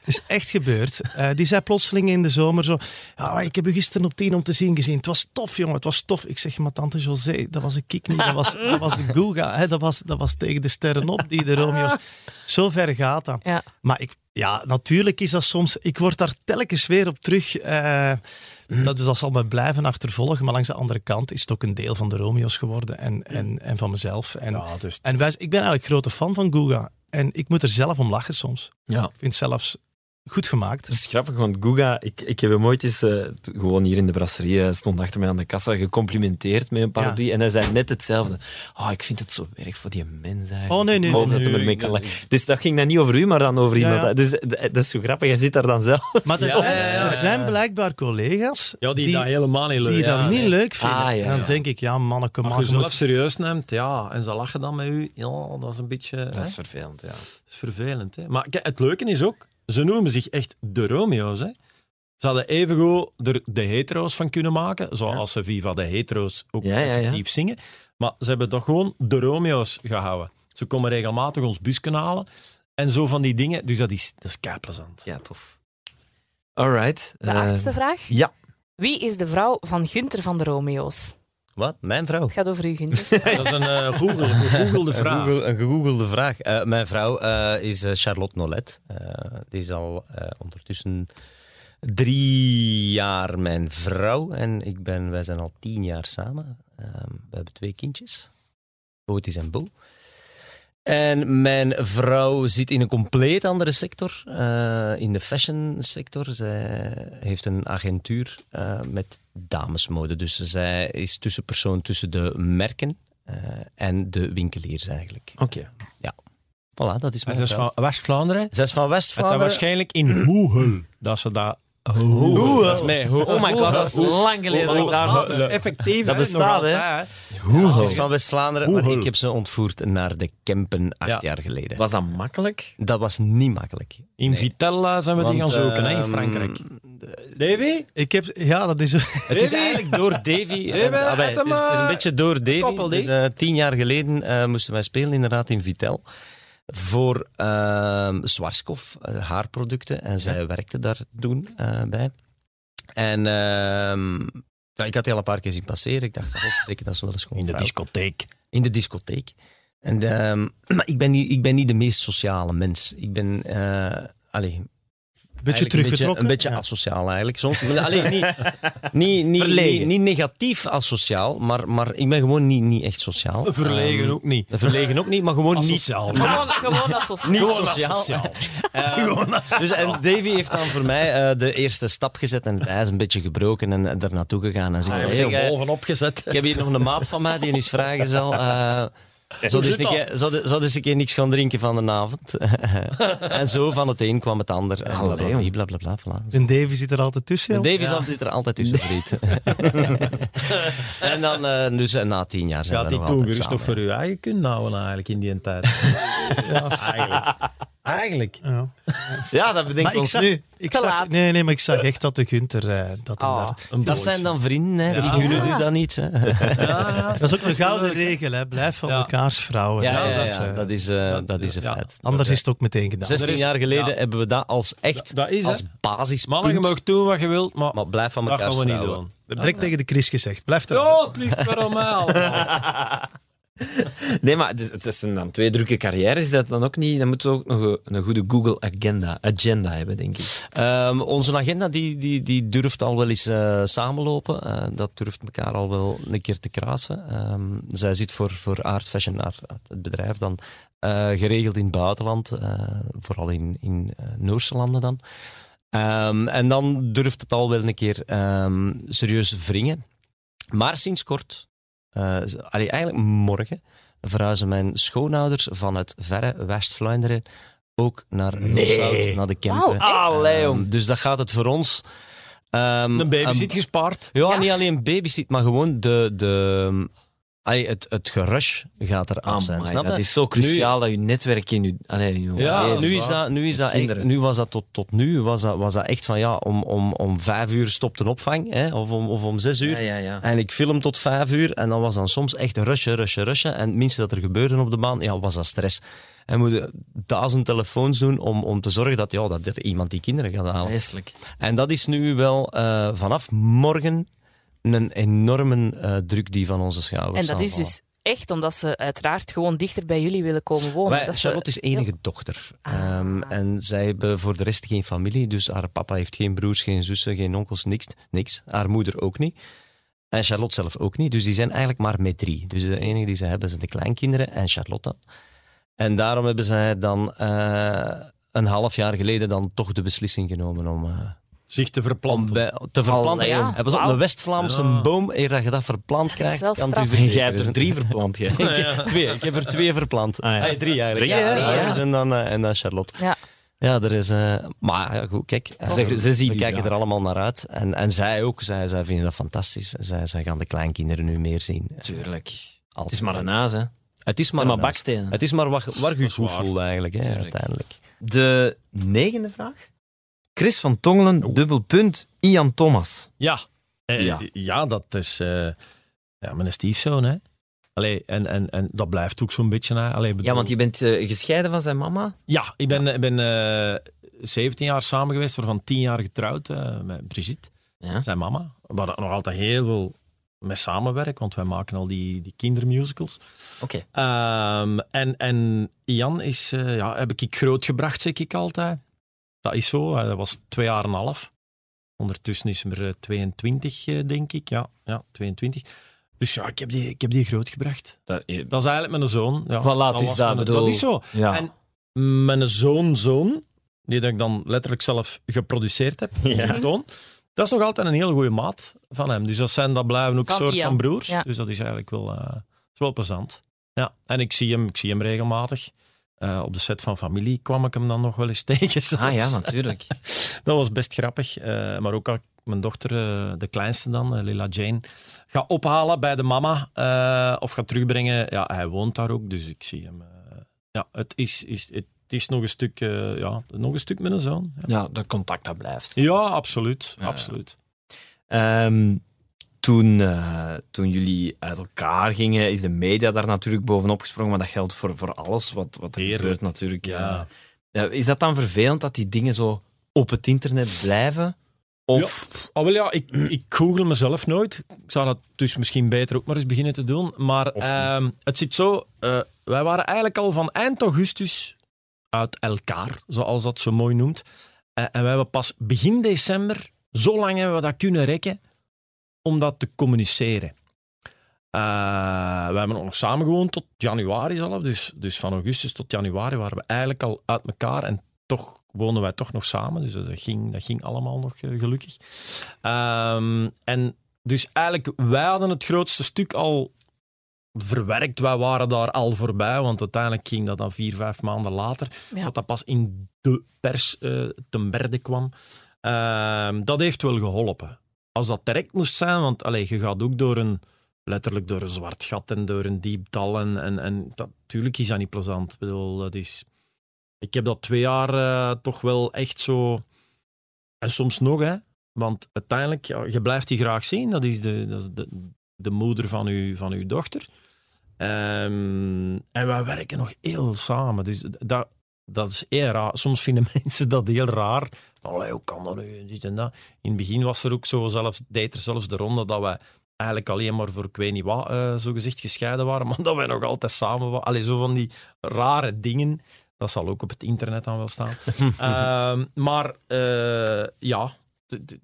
F: is echt gebeurd. Eh, die zei plotseling in de zomer zo, ja, maar ik heb u gisteren op tien om te zien gezien. Het was tof, jongen, het was tof. Ik zeg, maar tante José, dat was een kick niet, dat was, dat was de Guga. Hè, dat, was, dat was tegen de sterren op, die de Romeo's. Zo ver gaat dat.
E: Ja.
F: Maar ik, ja, natuurlijk is dat soms. Ik word daar telkens weer op terug. eh,
D: Mhm.
F: dat, dus dat zal me blijven achtervolgen. Maar langs de andere kant is het ook een deel van de Romeo's geworden en, en, en van mezelf. En,
D: Ja, dus
F: en wij, ik ben eigenlijk grote fan van Guga. En ik moet er zelf om lachen soms.
B: Ja.
F: Ik vind het zelfs goed gemaakt.
B: Het is grappig, want Guga, ik, ik heb hem ooit eens, eh, t- gewoon hier in de brasserie, eh, stond achter mij aan de kassa, gecomplimenteerd met een parodie. En hij zei net hetzelfde. Oh, ik vind het zo erg voor die mens eigenlijk.
F: Oh, nee,
B: Ik
F: nee,
B: hoop
F: nee,
B: dat hem
F: nee,
B: ermee kan lachen. Dus dat ging dan niet over u, maar dan over
F: Ja,
B: iemand.
F: ja.
B: Dus d- dat is zo grappig, hij zit daar dan zelf.
F: Maar er,
D: Ja,
F: zijn,
D: ja, ja,
F: er
D: ja.
F: zijn blijkbaar collega's
D: Ja, die,
F: die,
D: dat helemaal niet leuk
F: die dat
D: Ja,
F: niet
D: nee.
F: leuk vinden.
B: Ah, ja,
F: en dan
B: ja.
F: denk ik, ja, mannen, kom
D: Als
F: maar.
D: je
F: je
D: zelf
F: moet-
D: serieus neemt, ja, en ze lachen dan met u, ja, dat is een beetje hè,
B: vervelend, ja.
D: dat is vervelend. Hè? Maar kijk, het leuke is ook, Ze noemen zich echt de Romeo's. Hè? Ze hadden evengoed er de hetero's van kunnen maken, zoals ze Viva de hetero's ook
B: Ja, ja, ja.
D: effectief zingen. Maar ze hebben toch gewoon de Romeo's gehouden. Ze komen regelmatig ons busken halen en zo van die dingen. Dus dat is, dat is keiplezant.
B: Ja, tof. Alright.
E: De
B: eh,
E: achtste vraag.
B: ja.
E: Wie is de vrouw van Gunther van de Romeo's?
C: Wat? Mijn vrouw.
E: Het gaat over u, Gunther.
D: Dat is een eh, Google, een gegoogelde
C: Een,
D: vraag.
C: Google- een gegoogelde vraag. Eh, mijn vrouw eh, is eh, Charlotte Nolet. Eh, die is al eh, ondertussen drie jaar mijn vrouw. En ik ben, wij zijn al tien jaar samen. Ehm, we hebben twee kindjes. Otis en Bo. En mijn vrouw zit in een compleet andere sector. eh, in de fashion sector. Zij heeft een agentuur eh, met damesmode. Dus zij is tussenpersoon tussen de merken eh, en de winkeliers eigenlijk.
B: Oké.
C: Voilà, dat is
D: Maar
C: mijn
D: Ze is
C: vrouw.
D: van West-Vlaanderen.
C: Zij is van
D: En dat
C: West-Vlaanderen.
D: waarschijnlijk in Hoehel. Dat ze daar...
C: Hoehel.
D: Dat is mij. Ho-
B: Oh my god, dat is lang geleden dat ik daar
D: Dat
B: had.
D: is effectief.
B: Dat
D: hè,
B: bestaat,
D: nog
B: hè?
D: altijd,
C: Ze is van West-Vlaanderen, maar
D: Hoehel.
C: ik heb ze ontvoerd naar de Kempen acht
D: Ja.
C: jaar geleden.
B: Was dat makkelijk?
C: Dat was niet makkelijk.
D: In
C: Nee.
D: Vitella zijn we die gaan
C: Want,
D: zoeken, hè, in
C: ehm,
D: Frankrijk. Davy?
F: Ik heb, ja, dat is
C: Het is
D: Davy?
C: eigenlijk door Davy. eh,
D: Davy,
C: ah, wij,
D: het
C: het, is, het is een
D: maar-
C: beetje door Davy.
D: Koppel die.
C: Dus, eh, tien jaar geleden eh, moesten wij spelen inderdaad in Vitel. Voor ehm Zwarskov, eh, haarproducten. En zij werkte daar toen eh, bij. En ehm, ja, ik had die al een paar keer zien passeren. Ik dacht, oh, dat is wel eens gewoon
D: In de
C: vrouw.
D: discotheek.
C: in de discotheek. En, ehm, maar ik ben, niet, ik ben niet de meest sociale mens. Ik ben eh allee,
F: een beetje
C: eigenlijk een beetje,
F: teruggetrokken.
C: een beetje
F: Ja.
C: asociaal eigenlijk. Soms, allee, niet, niet, niet, niet,
B: Verlegen.
C: niet negatief asociaal, maar, maar ik ben gewoon niet, niet echt sociaal.
D: Verlegen
C: Ehm,
D: ook niet.
C: Verlegen ook niet, maar gewoon
D: Asociaal.
C: niet.
E: Gewoon, gewoon als sociaal.
C: Oh. Niet
D: Gewoon
C: sociaal.
D: asociaal.
C: Ehm, dus, en Davy heeft dan voor mij eh, de eerste stap gezet en het ijs een beetje gebroken en eh, daar naartoe gegaan.
D: Ah,
C: En zegt, van, zeg, eh,
D: bovenop gezet.
C: ik heb hier nog een maat van mij die is vrijgezel. eh zou dus
D: zit
C: een
D: dat?
C: keer- zou de- zou dus een keer niks gaan drinken van de avond. en zo van het een kwam het ander. En
B: Allee,
C: blablabla, blablabla, voilà.
F: En Davy zit er altijd tussen.
C: En
F: joh.
C: Davies zat is er altijd tussen vriend. en dan, eh, dus eh, na tien jaar zijn
D: Gaat
C: we
D: die
C: nog
D: toen
C: altijd
D: gerust
C: samen.
D: toch voor uw eigen kunnen houden eigenlijk in die tijd? eigenlijk. Eigenlijk.
F: Ja.
C: Ja, dat bedenk
F: Maar
C: ik
F: ik
C: ons
F: zag,
C: nu.
F: ik
E: Te
F: zag,
E: laat.
F: nee, nee, maar ik zag echt dat de Gunther... eh, dat, hem
E: Ah.
F: daar-
D: Een
C: Dat zijn dan vrienden, hè. die gunnen u dan niet. Hè.
D: Ja,
F: dat is ook een gouden regel, hè. blijf van
D: Ja.
F: elkaars vrouwen.
C: Ja, ja,
F: dat
C: ja,
F: is, eh,
C: dat is, eh, dat is een
D: ja.
C: feit.
F: anders is het ook meteen gedaan.
C: 16 jaar geleden hebben we dat als echt,
D: Dat- dat is, hè.
C: als basis.
D: mannen, je mag doen wat je wilt, maar,
C: Maar blijf van
D: dat
C: elkaar
D: gaan we niet
C: vrouwen.
D: doen.
F: Direct tegen de Chris gezegd, blijf daar.
D: Ja, het ligt wel allemaal.
B: Nee, maar het is, het is een, dan twee drukke carrières. Is dat dan ook niet? Dan moeten we ook nog een, een goede Google agenda, agenda hebben, denk ik.
C: Ehm, onze agenda die, die, die durft al wel eens eh, samenlopen. Eh, dat durft elkaar al wel een keer te krasen. Ehm, zij zit voor, voor Art Fashion, haar- het bedrijf dan, eh, geregeld in het buitenland. eh, vooral in, in eh, Noorse landen dan. Ehm, en dan durft het al wel een keer ehm, serieus wringen. Maar sinds kort, eh, z- allee, eigenlijk morgen, verhuizen mijn schoonouders van het verre West-Vlaanderen ook naar Rooshout, naar de Kempen.
E: Wauw,
B: Allee,
C: Ehm,
B: jong.
C: dus dat gaat het voor ons. ehm,
D: Een baby
C: ehm,
D: zit gespaard.
C: Ja,
E: Ja.
C: niet alleen babysit, maar gewoon de, de, ehm, allee, het, het gerush gaat er af zijn.
B: Amai,
C: snap
B: dat
C: je?
B: is zo cruciaal dat je netwerk in je... Allee, in je
C: Ja,
B: leven-
C: nu, is dat, nu, is dat echt,
B: Kinderen.
C: nu was dat tot, tot nu was dat, was dat echt van ja, om, om, om vijf uur stopt een opvang, hè, of, om, of om zes uur.
B: Ja, ja, ja.
C: En ik film tot vijf uur en dan was dan soms echt rushen, rushen, rushen. En het minste dat er gebeurde op de baan, ja, was dat stress. En we moeten duizend telefoons doen om, om te zorgen dat, ja, dat er iemand die kinderen gaat halen.
B: Vreselijk.
C: En dat is nu wel eh, vanaf morgen een enorme eh, druk die van onze schouders
E: En dat
C: zal
E: is
C: vallen.
E: dus echt omdat ze uiteraard gewoon dichter bij jullie willen komen wonen.
C: Wij-
E: dat ze-
C: Charlotte is enige dochter.
E: Ah.
C: Ehm, en zij hebben voor de rest geen familie. Dus haar papa heeft geen broers, geen zussen, geen onkels, niks. niks. Haar moeder ook niet. En Charlotte zelf ook niet. Dus die zijn eigenlijk maar met drie. Dus de enige die ze hebben zijn de kleinkinderen en Charlotte dan. En daarom hebben zij dan eh, een half jaar geleden dan toch de beslissing genomen om... eh,
D: Zich te
C: om
D: verplanten.
C: bij- te verplanten.
E: Allee, ja.
C: Hebben ze op een West-Vlaamse
D: Ja.
C: boom, eer dat je dat verplant krijgt,
E: wel
C: kan het u
E: straf.
C: vergeten.
B: Jij hebt
C: Dus
B: er
C: een-
B: drie verplant, jij.
C: Ik heb, twee, ik heb er twee verplant.
B: Ah, ja.
C: Ah, drie eigenlijk.
B: Drie,
C: ja,
B: ja,
C: ja,
E: ja.
C: dus En, dan, eh, en dan Charlotte.
E: Ja.
C: Ja, er is... eh, maar ja, goed, kijk. eh,
B: Ze- ze zien
C: we
B: die
C: kijken
B: graag.
C: er allemaal naar uit. En, en zij ook. Zij, zij vinden dat fantastisch. Zij, zij gaan de kleinkinderen nu meer zien.
B: Tuurlijk.
C: Als-
B: Het is maar een huis, hè.
C: Het is maar,
B: maar bakstenen.
C: het is maar waar, waar je je
D: is
C: goed
D: waar.
C: voelt eigenlijk, hè,
B: Tuurlijk.
C: uiteindelijk.
B: De negende vraag. Chris van Tongelen, dubbel punt, Ian Thomas.
D: Ja. Eh,
G: Ja.
D: ja. dat is eh, ja, mijn stiefzoon, hè. Allee, en, en, en dat blijft ook zo'n beetje... Hè. Allee, bedoel-
B: Ja, want je bent eh, gescheiden van zijn mama.
D: Ja, ik ben, ik ben eh, 17 jaar samen geweest, waarvan 10 jaar getrouwd eh, met Brigitte,
B: Ja.
D: zijn mama. Waar ik nog altijd heel veel mee samenwerk, want wij maken al die, die kindermusicals.
B: Oké.
D: Ehm, en, en Jan is, eh, ja, heb ik ik grootgebracht, zeg ik altijd. Oh, Dat is zo, hij was twee jaar en een half. Ondertussen is hij er eh, 22, eh, denk ik. Ja, ja 22. Dus ja, ik heb die, ik heb die grootgebracht. Dat, eh, dat is eigenlijk mijn zoon. Ja,
B: Voilà, het is
D: was
B: dat,
D: mijn-
B: bedoel-
D: Dat is zo.
B: Ja.
D: En mijn zoon-zoon, die dat ik dan letterlijk zelf geproduceerd heb, Toon, dat is nog altijd een hele goede maat van hem. Dus dat, zijn, dat blijven ook
E: Van
D: soort
E: Ian,
D: van broers.
E: ja.
D: Dus dat is eigenlijk wel, eh, is wel plezant. Ja, en ik zie hem, ik zie hem regelmatig. Eh, op de set van Familie kwam ik hem dan nog wel eens tegen. soms.
B: Ah ja, natuurlijk.
D: Dat was best grappig. Eh, maar ook al mijn dochter, eh, de kleinste dan, eh, Lila Jane, ga ophalen bij de mama eh, of ga terugbrengen. Ja, hij woont daar ook, dus ik zie hem. eh, ja, het is, is, het is nog, een stuk, eh, ja, nog een stuk met een zoon. Ja, dus-
B: Ja, dat contact dat blijft. Dus-
D: Ja, absoluut.
B: Ja.
D: absoluut.
B: Ehm, toen, eh, toen jullie uit elkaar gingen, is de media daar natuurlijk bovenop gesprongen. Maar dat geldt voor, voor alles wat, wat er
D: Heerlijk.
B: gebeurt natuurlijk.
D: Ja.
B: Eh, eh, is dat dan vervelend dat die dingen zo op het internet blijven? Of
D: Oh, wel ja, ik, ik google mezelf nooit. Ik zou dat dus misschien beter ook maar eens beginnen te doen. Maar ehm, het zit zo, eh, wij waren eigenlijk al van eind augustus uit elkaar, zoals dat zo mooi noemt. Eh, en wij hebben pas begin december, zo lang hebben we dat kunnen rekken, om dat te communiceren. Eh, we hebben nog samen gewoond tot januari zelf, dus, dus van augustus tot januari waren we eigenlijk al uit elkaar en toch woonden wij toch nog samen, dus dat ging, dat ging allemaal nog eh, gelukkig. Ehm, en dus eigenlijk, wij hadden het grootste stuk al verwerkt. Wij waren daar al voorbij, want uiteindelijk ging dat dan vier, vijf maanden later.
E: Ja.
D: Dat dat pas in de pers eh ten berde kwam. Ehm, dat heeft wel geholpen. Als dat direct moest zijn, want allee, je gaat ook door een, letterlijk door een zwart gat en door een diep dal. En, en, en dat, tuurlijk is dat niet plezant. Ik bedoel, dat is... Ik heb dat twee jaar eh, toch wel echt zo... En soms nog, hè. Want uiteindelijk, ja, je blijft die graag zien. Dat is de, dat is de, de moeder van, uw, van uw dochter. Ehm, en wij werken nog heel samen. Dus dat, dat is heel raar. Soms vinden mensen dat heel raar. Allee, hoe kan dat nu? En Dit en Dus dat. In het begin was er ook zo, zelfs, deed er zelfs de ronde dat wij eigenlijk alleen maar voor ik weet niet wat, eh, zogezegd gescheiden waren, maar dat wij nog altijd samen waren. Allee, zo van die rare dingen. Dat zal ook op het internet dan wel staan. Ehm, maar eh, ja, d- d-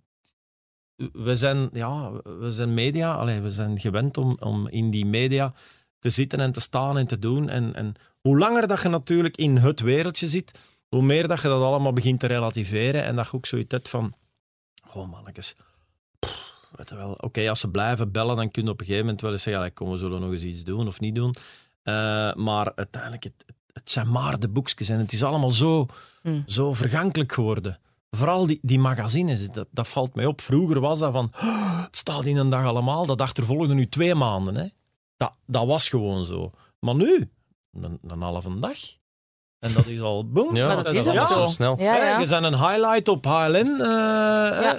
D: we zijn, ja, we zijn media, allee, we zijn gewend om, om in die media te zitten en te staan en te doen. En, en hoe langer dat je natuurlijk in het wereldje zit, hoe meer dat je dat allemaal begint te relativeren en dat je ook zoiets hebt van, goh mannetjes, pff, weet je wel, oké, als ze blijven bellen, dan kun je op een gegeven moment wel eens zeggen, allee, kom, we zullen nog eens iets doen of niet doen. Eh, maar uiteindelijk, het, het- het zijn maar de boekjes en het is allemaal zo,
E: Hm.
D: zo vergankelijk geworden. Vooral die, die magazines, dat, dat valt mij op. Vroeger was dat van, "Oh, het staat in een dag allemaal, dat achtervolgde nu twee maanden. Hè. Dat, dat was gewoon zo. Maar nu, een, een halve dag. En dat is al boom.
C: Ja,
E: Maar dat is ook
D: ja.
E: zo.
C: zo snel.
E: Ja, ja.
D: Je zijn een highlight op HLN eh,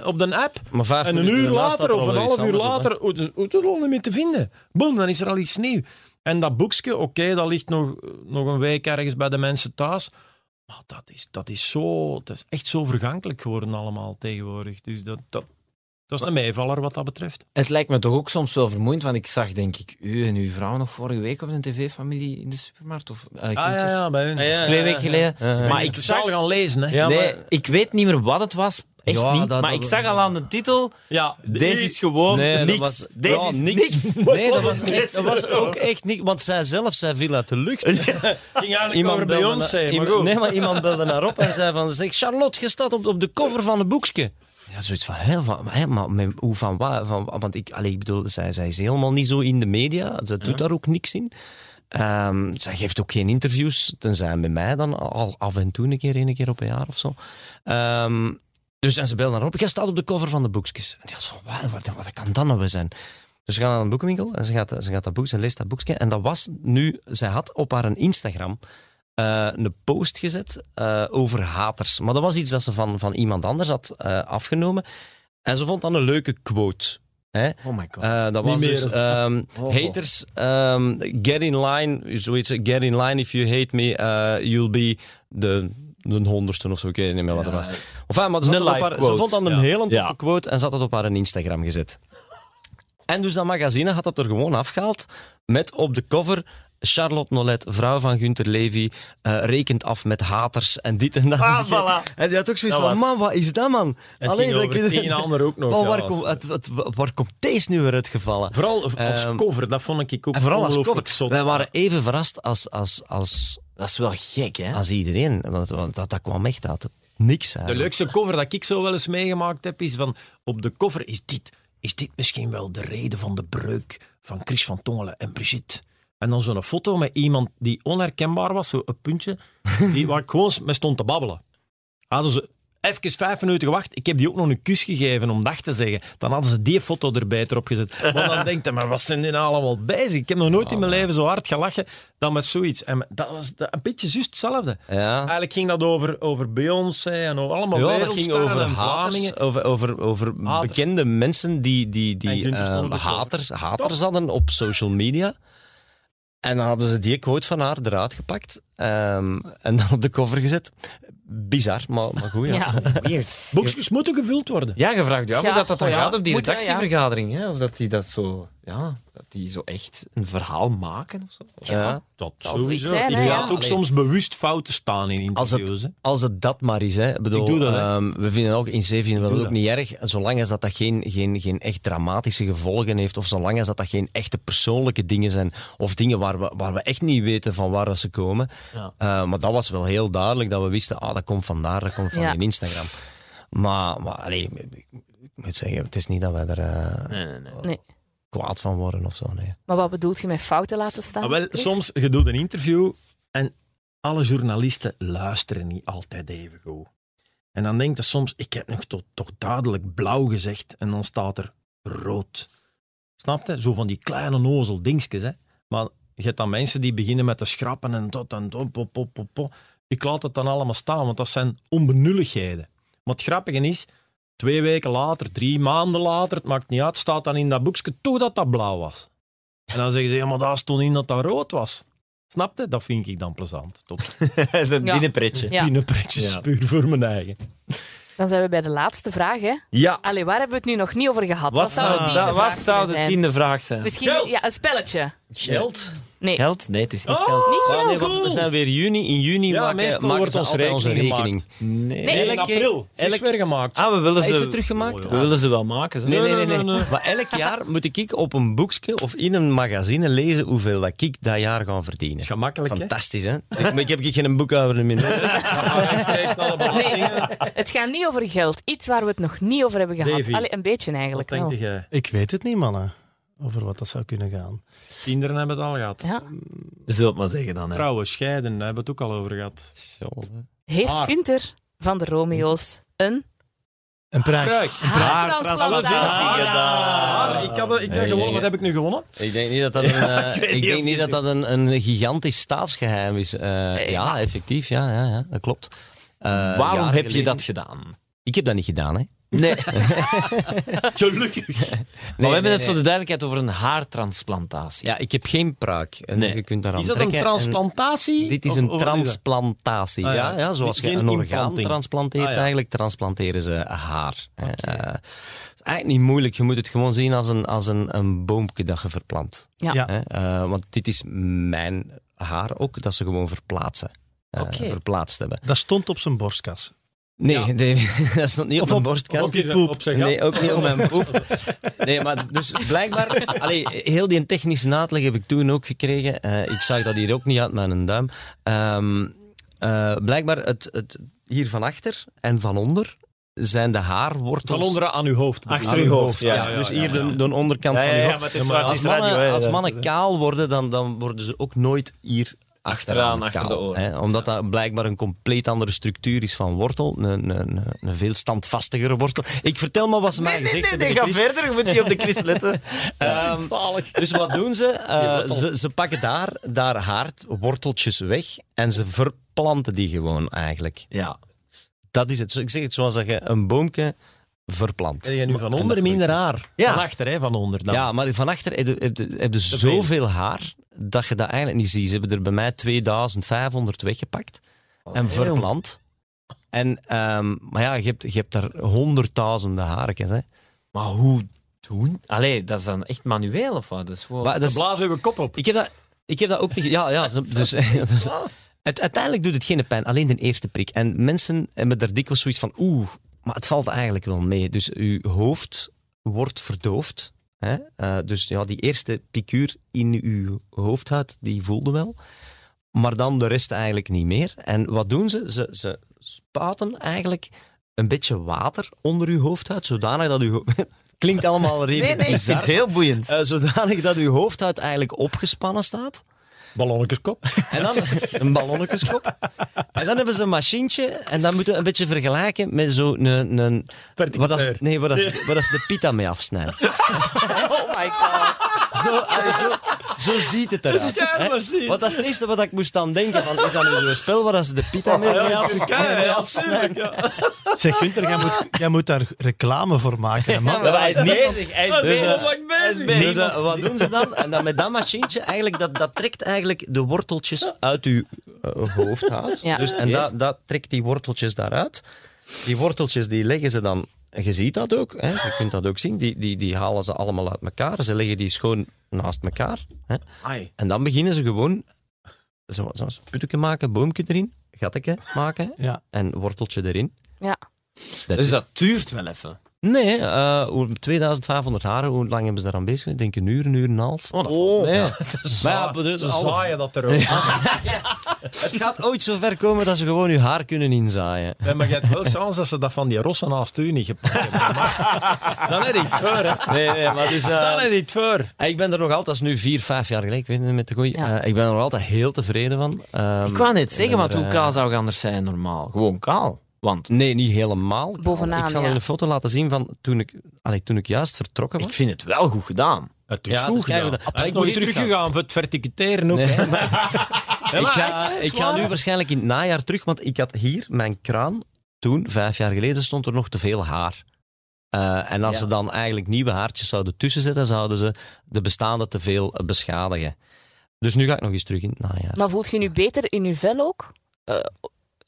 D: eh, op de app.
C: Maar vijf
D: En een
C: minuten
D: uur
C: daarna staat
D: later
C: er
D: of een
C: alweer iets
D: half uur
C: anders op, hè.
D: later, hoe hoe- hoe- hoe- hoe- niet meer te vinden. Boom, dan is er al iets nieuw. En dat boekje, oké, dat ligt nog, nog een week ergens bij de mensen thuis. Maar dat is, dat is, zo, dat is echt zo vergankelijk geworden allemaal tegenwoordig. Dus dat, dat, dat is een meevaller wat dat betreft.
B: het lijkt me toch ook soms wel vermoeiend, want ik zag denk ik u en uw vrouw nog vorige week op een tv-familie in de supermarkt. Of, eh,
D: "Ah,
B: groentjes.
D: bij hun.
B: Of twee weken geleden.
C: ja, ja.
B: Maar
D: Maar ik
B: ik zag,
D: zal gaan lezen, hè.
C: Ja,
B: nee,
C: maar-
B: ik weet niet meer wat het was. Echt
C: Ja,
B: niet.
C: dat-
B: maar
C: dat
B: ik zag
C: was-
B: al aan de titel.
D: Ja,
B: Deze is gewoon
C: Nee, dat
B: niks.
C: was-
B: Deze
C: ja,
B: is
C: niks.
B: niks.
C: Nee, dat was, echt, dat was ook echt niks. Want zij zelf, zij viel uit de lucht.
D: ging eigenlijk
C: belde
D: over Beyoncé,
C: na-
D: maar
C: iemand-
D: goed.
C: Nee, maar iemand belde naar op en zei van... Zeg, Charlotte, je staat op, op de cover van een boekje. Ja, zoiets van, hè, van, hè, maar met- hoe van, waar, van want ik, allee, ik bedoel, zij, zij is helemaal niet zo in de media. Ze doet daar ook niks in. Ehm, zij geeft ook geen interviews, tenzij met mij dan al af en toe een keer, een keer op een jaar of zo. Ehm, dus en ze belde naar op, jij staat op de cover van de boekjes. En die was van, wat, wat, wat kan dat nou weer zijn? Dus ze gaat naar een boekenwinkel en ze gaat, ze gaat dat boek, ze leest dat boekje. En dat was nu, zij had op haar Instagram eh, een post gezet eh, over haters. Maar dat was iets dat ze van, van iemand anders had eh, afgenomen. En ze vond dat een leuke quote. Hè?
B: Oh my god.
C: Eh, dat was
D: meer
C: dus
D: is het.
C: ehm,
B: Oh.
C: haters, ehm, get in line, zoiets, get in line if you hate me, eh, you'll be de, de honderdste of zo, ik weet niet meer wat dat was. Enfin, maar ze, had
B: Een
C: dat op
B: live
C: haar, ze
B: quote,
C: vond dat een
B: ja.
C: hele toffe
B: Ja.
C: quote en ze had dat op haar Instagram gezet. En dus dat magazine had dat er gewoon afgehaald met op de cover Charlotte Nolet, vrouw van Gunther Levy, eh, rekent af met haters en dit en dat. En die had ook zoiets van, man, wat is dat, man?
D: Het
C: Allee,
D: ging
C: dat-
D: over tien anderen ook nog.
C: Van
D: ja,
C: waar,
D: was-
C: komt- het- het- waar komt deze nu weer uitgevallen?
D: Vooral als
C: Ehm,
D: cover, dat vond ik ook
C: En vooral als
D: ongelooflijk
C: cover.
D: zot.
C: Wij waren even verrast als, als, als,
B: Dat is wel gek, hè?
C: als iedereen. Want, want dat, dat kwam echt uit het niks
D: De
C: eigenlijk.
D: leukste cover dat ik zo wel eens meegemaakt heb, is van op de cover is dit. Is dit misschien wel de reden van de breuk van Chris van Tongelen en Brigitte? En dan zo'n foto met iemand die onherkenbaar was, zo'n puntje, die, waar ik gewoon mee stond te babbelen. Hadden ze even vijf minuten gewacht, ik heb die ook nog een kus gegeven om dag te zeggen. Dan hadden ze die foto erbij erop gezet. Want dan denkt hij, maar wat zijn die nou allemaal bezig? Ik heb nog nooit in mijn leven zo hard gelachen dan met zoiets. En dat was dat- een beetje juist hetzelfde.
C: Ja.
D: Eigenlijk ging dat over, over Beyoncé en over allemaal
C: Ja, dat
D: wereldsterren
C: ging over
D: en Vlamingen.
C: haters, over, over, over
D: Haters.
C: bekende mensen die, die,
D: En
C: die
D: Gunther stond
C: eh,
D: op de cover.
C: haters, haters hadden op social media. En dan hadden ze die quote van haar eruit gepakt ehm, en dan op de cover gezet. Bizar, maar, maar goed. Ja.
E: Ja.
D: Boekjes moeten gevuld worden.
B: Ja, je vraagt je af
E: Ja,
B: hoe dat, dat dan
E: oh ja.
B: gaat op die
E: Moet wel, ja.
B: redactievergadering. Hè? Of dat die dat zo, ja, dat die zo echt een verhaal maken of zo.
C: Ja.
D: Dat
E: moet
D: sowieso.
E: iets zijn,
D: ik
E: hè,
D: laat
E: ja.
D: ook
C: Allee.
D: soms bewust fouten staan in
C: Als het-
D: interviews. hè.
C: Als het dat maar is, hè. Ik Bedoel,
D: Ik doe dat, hè.
C: ehm, we vinden ook in zee vinden we dat
D: doe
C: ook
D: dat.
C: niet erg, zolang als dat, dat geen, geen, geen echt dramatische gevolgen heeft, of zolang als dat, dat geen echte persoonlijke dingen zijn, of dingen waar we, waar we echt niet weten van waar dat ze komen.
D: Ja.
C: Eh, maar dat was wel heel duidelijk dat we wisten, ah, dat komt vandaar, dat komt van
E: Ja.
C: die Instagram. Maar, maar allee, ik, ik moet zeggen, het is niet dat wij er eh,
B: Nee, nee, nee.
E: Nee.
C: kwaad van worden of zo. Nee.
E: Maar wat bedoelt je met fouten laten staan?
B: Ah,
D: Maar wel,
E: Ah, Chris?
D: soms, je doet een interview en alle journalisten luisteren niet altijd even goed. En dan denkt je soms, ik heb nog toch, toch duidelijk blauw gezegd en dan staat er rood. Snap je? Zo van die kleine nozel dingetjes. Hè? Maar je hebt dan mensen die beginnen met te schrappen en dat en dat, pop, pop, pop, pop. Ik laat het dan allemaal staan, want dat zijn onbenulligheden. Maar het grappige is, twee weken later, drie maanden later, het maakt niet uit, staat dan in dat boekje toch dat dat blauw was. En dan zeggen ze, ja, maar daar stond in dat dat rood was. Snap je? Dat vind ik dan plezant. Top.
B: een
E: Ja.
B: binnenpretje.
E: Ja.
D: Pinnenpretjes,
B: Ja.
D: puur voor mijn eigen.
E: Dan zijn we bij de laatste vraag. Hè.
B: Ja.
E: Allee, waar hebben we het nu nog niet over gehad?
B: Wat
E: zou de
B: zou,
E: tiende
B: dat,
E: vraag
B: wat zou de
E: kunnen zijn?
B: tiende vraag zijn?
E: Misschien ja, een spelletje.
C: Geld?
E: Nee,
B: Geld? Nee, het is niet geld.
E: niet
C: Ah, nee,
E: geld.
C: want we zijn weer juni. In juni
D: Ja,
C: maken,
D: meestal
C: maken
D: wordt
C: ze
D: ons
C: altijd onze
D: rekening
C: rekening.
B: Nee.
E: Nee.
D: In
C: Elke-
D: april. Het is
C: elke-
D: weer gemaakt.
B: Ah, we willen
C: Is
B: ze...
C: het teruggemaakt?
B: We willen ze wel maken. Ze.
C: Nee, nee,
D: Nee,
C: nee.
D: Ah. nee, nee, nee.
C: Maar elk jaar moet ik op een boekje of in een magazine lezen hoeveel dat ik dat jaar ga verdienen.
D: Gemakkelijk, hè?
C: Fantastisch, hè? Ik, maar ik heb ik geen boekhouder meer.
D: Rechtstreeks naar de belastingen.
E: het gaat niet over geld. Iets waar we het nog niet over hebben gehad.
D: Davy.
E: Allee, een beetje eigenlijk
D: Wat
E: wel.
D: denk je?
F: Ik weet het niet, mannen. Over wat dat zou kunnen gaan.
D: Kinderen hebben het al gehad.
E: Ja.
B: Zult maar zeggen dan. Hè.
D: Trouwen, scheiden, daar hebben we het ook al over gehad.
E: Heeft
B: Ah.
D: Haar.
E: Gunther van de Romeo's een
F: Een pruik.
D: Kruik.
E: haartransplantatie gedaan?
D: Maar Ah, ik had, ik dacht
C: Nee,
D: gewoon,
C: nee,
D: wat heb ik nu gewonnen?
C: Ik denk niet dat dat een, eh, ik denk niet dat dat een, een gigantisch staatsgeheim is. Eh, ja, effectief. Ja, ja, ja, dat klopt. Eh,
B: Waarom
C: jaren
B: heb je
C: geleden-
B: dat gedaan?
C: Ik heb dat niet gedaan, hè?
B: Nee. maar
D: Gelukkig.
B: we hebben
C: nee,
B: het voor de duidelijkheid over een haartransplantatie.
C: Ja, ik heb geen pruik. En
B: Nee.
C: Je kunt daaraan
D: Is dat een
C: trekken en-
D: transplantatie?
C: Dit is
D: Of-
C: een
D: of wat dat?
C: transplantatie.
D: Ah, ja.
C: ja. Ja, zoals je
D: Geen
C: een orgaan
D: implanting.
C: transplanteert,
D: Ah, ja.
C: eigenlijk transplanteren ze haar. Eh, eh, Het is eigenlijk niet moeilijk. Je moet het gewoon zien als een, als een, een boompje dat je verplant.
E: Ja.
F: Ja.
C: Eh, eh, want dit is mijn haar ook, dat ze gewoon verplaatsen. Eh,
E: Oké.
C: Verplaatst hebben.
F: Dat stond op zijn borstkas.
C: Nee, nee, dat stond niet op
F: Of
C: mijn
F: op-
C: borstkast.
D: Of op je poep. Op zijn gat.
C: Nee, ook niet op mijn poep. Nee, maar dus blijkbaar... Allee, heel die technische uitleg heb ik toen ook gekregen. Eh, ik zag dat hier ook niet uit mijn duim. Ehm, eh, blijkbaar, het, het, hier van achter en van onder zijn de haarwortels...
D: Van onderen aan uw hoofd.
B: Achter
C: aan
B: uw
C: uw
B: hoofd,
C: hoofd.
B: ja,
C: Ja,
B: ja,
C: dus
B: ja,
C: hier
B: ja.
C: De, de onderkant van uw hoofd.
B: het is
C: als mannen, als mannen kaal worden, dan, dan worden ze ook nooit hier
B: Achteraan, achter
C: kaal,
B: de oren.
C: Hè, omdat dat blijkbaar een compleet andere structuur is van wortel. Een, een, een, een veel standvastigere wortel. Ik vertel maar wat ze mij gezegd hebben.
B: ga
C: Chris.
B: verder, je moet niet op de Chris letten.
C: Ehm, dus wat doen ze? Eh, ze? Ze pakken daar, daar haardworteltjes weg en ze verplanten die gewoon eigenlijk.
B: Ja.
C: Dat is het. Zo- Ik zeg het zoals dat je een boomke verplant.
D: Krijg je nu van onder
C: En dat
D: minder haar?
C: Ja.
D: Van achter, hè, van onder dan.
C: Ja, maar van achter heb je, heb je- heb je zoveel haar dat je dat eigenlijk niet ziet. Ze hebben er bij mij 2500 weggepakt
B: Oh,
C: en verplant. En, ehm, maar ja, je hebt, je hebt daar honderdduizenden haartjes. Hè.
B: Maar hoe doen? Allee, dat is dan echt manueel of wat? Dat is gewoon...
C: Maar dat is-
D: Blazen we kop op. Ah.
C: ik, heb dat, ik heb dat ook niet... ge- Ja, ja. ze- Dus, dus, het, uiteindelijk doet het geen pijn, alleen de eerste prik. En mensen hebben daar dikwijls zoiets van... Oeh, maar het valt eigenlijk wel mee. Dus uw hoofd wordt verdoofd. Hè? Eh, dus ja, die eerste piekuur in uw hoofdhuid, die voelde wel. Maar dan de rest eigenlijk niet meer. En wat doen ze? Ze, ze spaten eigenlijk een beetje water onder uw hoofdhuid, zodanig dat uw... ho- Klinkt allemaal redelijk bizar.
B: heel boeiend.
C: Eh, zodanig dat uw hoofdhuid eigenlijk opgespannen staat.
D: Ballonnetjeskop.
C: En dan een ballonnetjeskop. En dan hebben ze een machientje. En dat moeten we een beetje vergelijken met zo'n... Een, een, wat dat,
D: Verticulair.
C: nee, wat dat, wat dat ze de pita mee afsnijden.
B: Oh my god.
C: Zo, allee, zo, zo ziet het eruit. hè. Want dat is het eerste wat ik moest aan denken. Van, is dat nu zo'n spel waar dat ze de pita mee, mee af- mee afsnijden?
F: Zeg Gunther, jij moet, jij moet daar reclame voor maken. hè, man.
C: maar
B: hij is bezig. Hij is
C: Dus,
B: bezig.
C: eh,
B: Hij is bezig.
C: Dus, eh, wat doen ze dan? En dan met dat machientje, eigenlijk, dat, dat trekt eigenlijk de worteltjes uit uw eh, hoofdhuid.
E: Ja.
C: Dus, en
B: Oké.
C: dat, dat trekt die worteltjes daaruit. Die worteltjes die leggen ze dan, en je ziet dat ook, hè? je kunt dat ook zien, die, die, die halen ze allemaal uit elkaar. Ze leggen die schoon naast elkaar. Hè?
B: Ai.
C: En dan beginnen ze gewoon zo- zo'n putteke maken, boomje erin, gatteke maken
F: Ja.
C: en worteltje erin.
E: Ja.
C: That's
B: Dus
C: it.
B: dat duurt wel even.
C: Nee, eh, hoe- 2500 haren, hoe lang hebben ze daar aan bezig? geweest? Ik denk een uur, een uur en een half.
B: Oh, dat valt mee.
C: Maar ja, dus
D: Ze
C: alles-
D: zwaaien dat er ook.
C: het gaat ooit zo ver komen dat ze gewoon hun haar kunnen inzaaien.
D: Ja, maar je hebt wel kans dat ze dat van die rossen naast u niet gepakt hebben. Maar Dan heb je het voor, hè.
C: Nee, nee, maar dus... eh,
D: Dan heb je het voor.
C: ik ben er nog altijd, dat is nu vier, vijf jaar geleden, ik weet het niet met de goeie.
E: Ja.
C: eh, ik ben er nog altijd heel tevreden van. Ehm,
B: Ik wou net zeggen,
C: ben
B: want
C: er,
B: hoe
C: eh,
B: kaal zou je anders zijn normaal? Gewoon kaal. Want
C: Nee, niet helemaal.
E: Bovenaan,
C: Ik zal
E: ja.
C: u een foto laten zien van toen ik, allee, toen ik juist vertrokken was.
B: ik vind het wel goed gedaan.
D: Het
C: Ja, dat is keigoed. Maar
D: Ik moet teruggegaan voor het verticuteren ook.
C: Nee.
D: hè.
C: ik, ga, ik ga nu waarschijnlijk in het najaar terug, want ik had hier mijn kraan. Toen, vijf jaar geleden, stond er nog te veel haar. Eh, en als
B: Ja.
C: ze dan eigenlijk nieuwe haartjes zouden tussenzetten, zouden ze de bestaande te veel eh, beschadigen. Dus nu ga ik nog eens terug in het najaar.
E: Maar voelt je nu beter in je vel ook? Eh,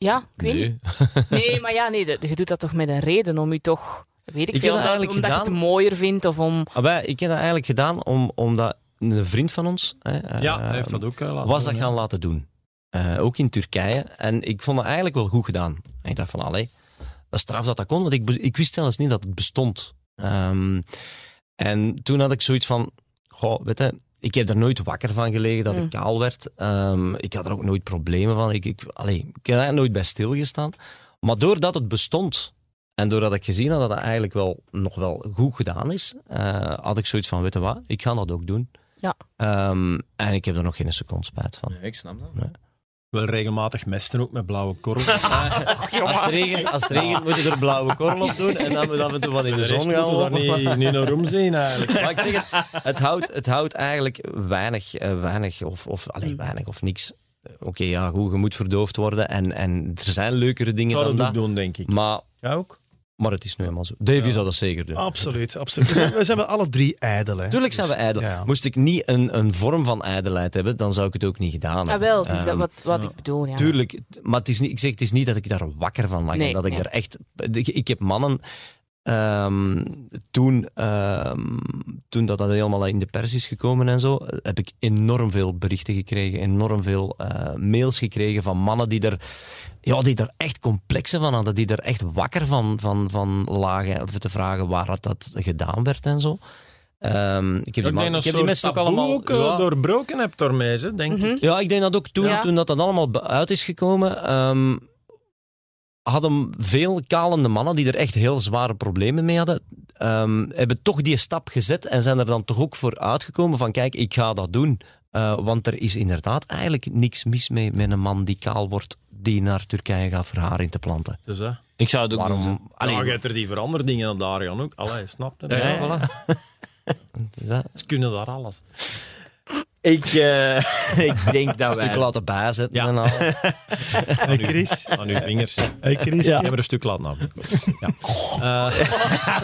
E: ja, ik weet niet.
C: Nee.
E: Nee, maar ja, nee, dat- je doet dat toch met een reden om je toch... Weet ik,
C: Ik
E: veel,
C: heb dat
E: omdat,
C: eigenlijk
E: omdat je het
C: gedaan.
E: mooier vindt of om...
C: Ah, wij- ik heb dat eigenlijk gedaan om, omdat een vriend van ons hè, eh,
D: Ja, hij heeft dat ook eh, laten
C: was dat
D: doen,
C: gaan laten doen. Eh, ook in Turkije. En ik vond dat eigenlijk wel goed gedaan. En ik dacht van, allee, dat is straf dat dat kon, want ik, be- ik wist zelfs niet dat het bestond. Ehm, en toen had ik zoiets van, goh, weet je, ik heb er nooit wakker van gelegen dat
E: Mm.
C: ik kaal werd. Ehm, ik had er ook nooit problemen van. Ik, ik, allee, ik heb daar nooit bij stilgestaan. Maar doordat het bestond en doordat ik gezien had dat het eigenlijk wel nog wel goed gedaan is, eh, had ik zoiets van, weet je wat, ik ga dat ook doen.
E: Ja.
C: Ehm, en ik heb er nog geen seconde spijt van.
B: ik snap dat.
D: Wel regelmatig mesten ook met blauwe korrel.
C: Als het regent, als het regent moet je er blauwe korrel op doen en dan moet af en toe wat in de,
D: rest
C: zon
D: moeten
C: gaan
D: we daar
C: lopen.
D: niet, niet naar omzien eigenlijk.
C: Maar ik zeg het, het houdt, het houdt eigenlijk weinig, eh, weinig of, of
E: Mm.
C: alleen weinig of niks. Eh, Oké, ja, goed, je moet verdoofd worden en, en er zijn leukere
D: Ik
C: dingen
D: zou
C: dan
D: dat ook
C: dat.
D: doen, denk ik.
C: Maar,
D: Jij ook?
C: maar het is nu helemaal zo. Davy zou dat zeker
E: Oh.
C: doen.
F: Absoluut, absoluut. We zijn, we zijn wel alle drie ijdel. Hè.
C: Tuurlijk zijn we
F: Dus,
C: ijdel.
F: ja.
C: Moest ik niet een, een vorm van ijdelheid hebben, dan zou ik het ook niet gedaan
E: Ah,
C: hebben.
E: wel, het is dat
C: Ehm,
E: wat, wat ik bedoel, ja.
C: Tuurlijk, maar het is niet, ik zeg, het is niet dat ik daar wakker van lag. en
E: Nee,
C: dat ik
E: nee.
C: daar echt. Ik, ik heb mannen. ehm, toen, ehm, toen dat, dat helemaal in de pers is gekomen en zo, heb ik enorm veel berichten gekregen, enorm veel eh, mails gekregen van mannen die er, ja, die er echt complexen van hadden, die er echt wakker van, van, van lagen, of te vragen waar dat, dat gedaan werd en zo. Ehm, ik heb die, man, ik heb die mensen ook allemaal...
D: ook eh,
C: ja.
D: doorbroken hebt door mij, ze, denk ik.
C: Ja, ik denk dat ook toen,
E: Ja.
C: toen dat, dat allemaal be- uit is gekomen, ehm, hadden veel kalende mannen die er echt heel zware problemen mee hadden, ehm, hebben toch die stap gezet en zijn er dan toch ook voor uitgekomen van kijk, ik ga dat doen. Eh, want er is inderdaad eigenlijk niks mis mee met een man die kaal wordt, die naar Turkije gaat voor haar in te planten.
D: Dus, hè.
B: Ik zou het ook doen.
C: Waarom? Allee,
D: ja, je hebt er die veranderde dingen aan daar gaan ook. Allee, snap je?
C: ja, voilà. Is dat?
D: Ze kunnen daar alles.
B: Ik, eh, ik denk dat
C: Stuk
B: wij...
C: laten bijzetten
D: Ja.
C: en al.
F: Hey Chris,
D: Aan uw vingers. Ik
F: hey Chris
D: heb er een stuk laten afdoen. Ja. Eh,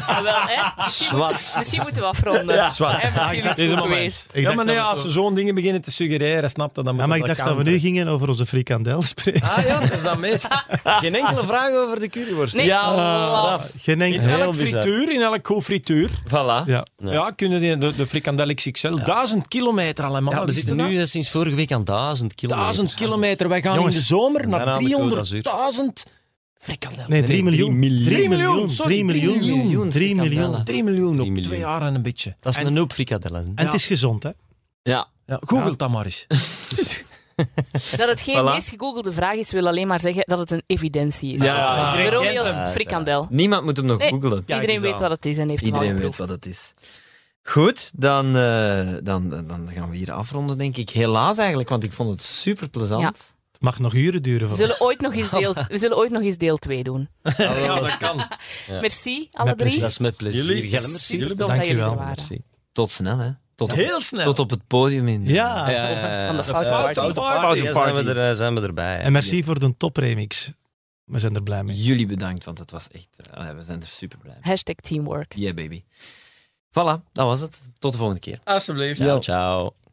E: Ah, wel, hè? Misschien, moeten, misschien moeten we afronden. Ja.
D: Zwart.
E: misschien is het
D: Deze
E: goed
D: moment.
E: geweest.
F: Ik
D: ja,
F: dacht
D: maar nee,
F: dat we
D: als
F: het
D: ze zo'n dingen beginnen te suggereren, snap je, dan moet
F: Ja, maar ik
D: dat
F: dacht dat we
D: counteren.
F: nu gingen over onze frikandel spreken.
D: Ah ja, dat is dat meest.
C: Geen enkele vraag over de curryworst.
E: Nee.
B: Ja,
E: Ah.
B: straf.
F: Geen enkel.
D: In elk
C: bizar.
D: frituur, in elk goed frituur,
B: Voilà.
F: Ja.
D: ja. kunnen die, de, de frikandel XXL, duizend kilometer al, hè, man.
C: Ja, we
D: Wist
C: zitten
D: je dat?
C: nu eh, sinds vorige week aan duizend kilometer.
D: nou? Duizend kilometer, wij gaan
F: Jongens,
D: in de zomer
C: daarna
D: naar
C: de
D: 300.000 frikandel.
F: Nee, 3 miljoen.
D: Drie
F: 3
D: miljoen,
F: miljoen.
D: sorry,
F: 3 miljoen.
D: drie miljoen
F: 3 miljoen.
C: frikandellen.
D: 3 miljoen op
C: Drie miljoen.
D: twee jaar en een beetje.
C: Dat is een hoop frikadellen.
F: En het is gezond, hè?
B: Ja.
D: Ja, Google dat maar eens.
E: Dat het geen
B: Voilà.
E: meest gegoogelde vraag is, wil alleen maar zeggen dat het een evidentie is.
B: Ja.
E: De
B: Iedereen
E: Romeo's
C: hem.
E: frikandel.
B: Niemand moet hem nog
E: Nee.
B: googlen.
E: Iedereen weet wat het is en heeft het al
B: Iedereen weet
E: geproefd.
B: wat het is. Goed, dan, eh, dan, dan gaan we hier afronden, denk ik. Helaas eigenlijk, want ik vond het super plezant.
F: Het mag nog uren duren
E: We
F: voor
E: zullen
F: ons.
E: ooit nog eens deel, we zullen ooit nog eens deel 2 doen.
D: Ja, dat kan.
E: Merci, alle
F: Met
E: drie.
C: Dat is met plezier.
D: Jullie-
C: Jij, merci.
E: Super tof
F: Dank
E: dat
F: je
E: jullie
F: wel,
E: er waren.
C: Merci.
B: Tot snel, hè? Tot op,
D: Heel snel.
B: tot op het podium in.
D: Ah,
F: Ja.
C: Ja, ja, ja. eh,
E: Van de
C: Foute
E: foute
C: party.
D: party.
C: Foute
B: Ja, zijn
C: party.
B: we
C: Zijn we, er, eh, zijn we erbij.
F: En merci voor de topremix. We zijn er blij mee.
B: eh, Jullie bedankt, want het was echt. eh, we zijn er super blij mee.
E: Hashtag teamwork.
B: Yeah, baby. Voilà, dat was het. Tot de volgende keer.
C: Alsjeblieft.
B: Ja.
C: ciao.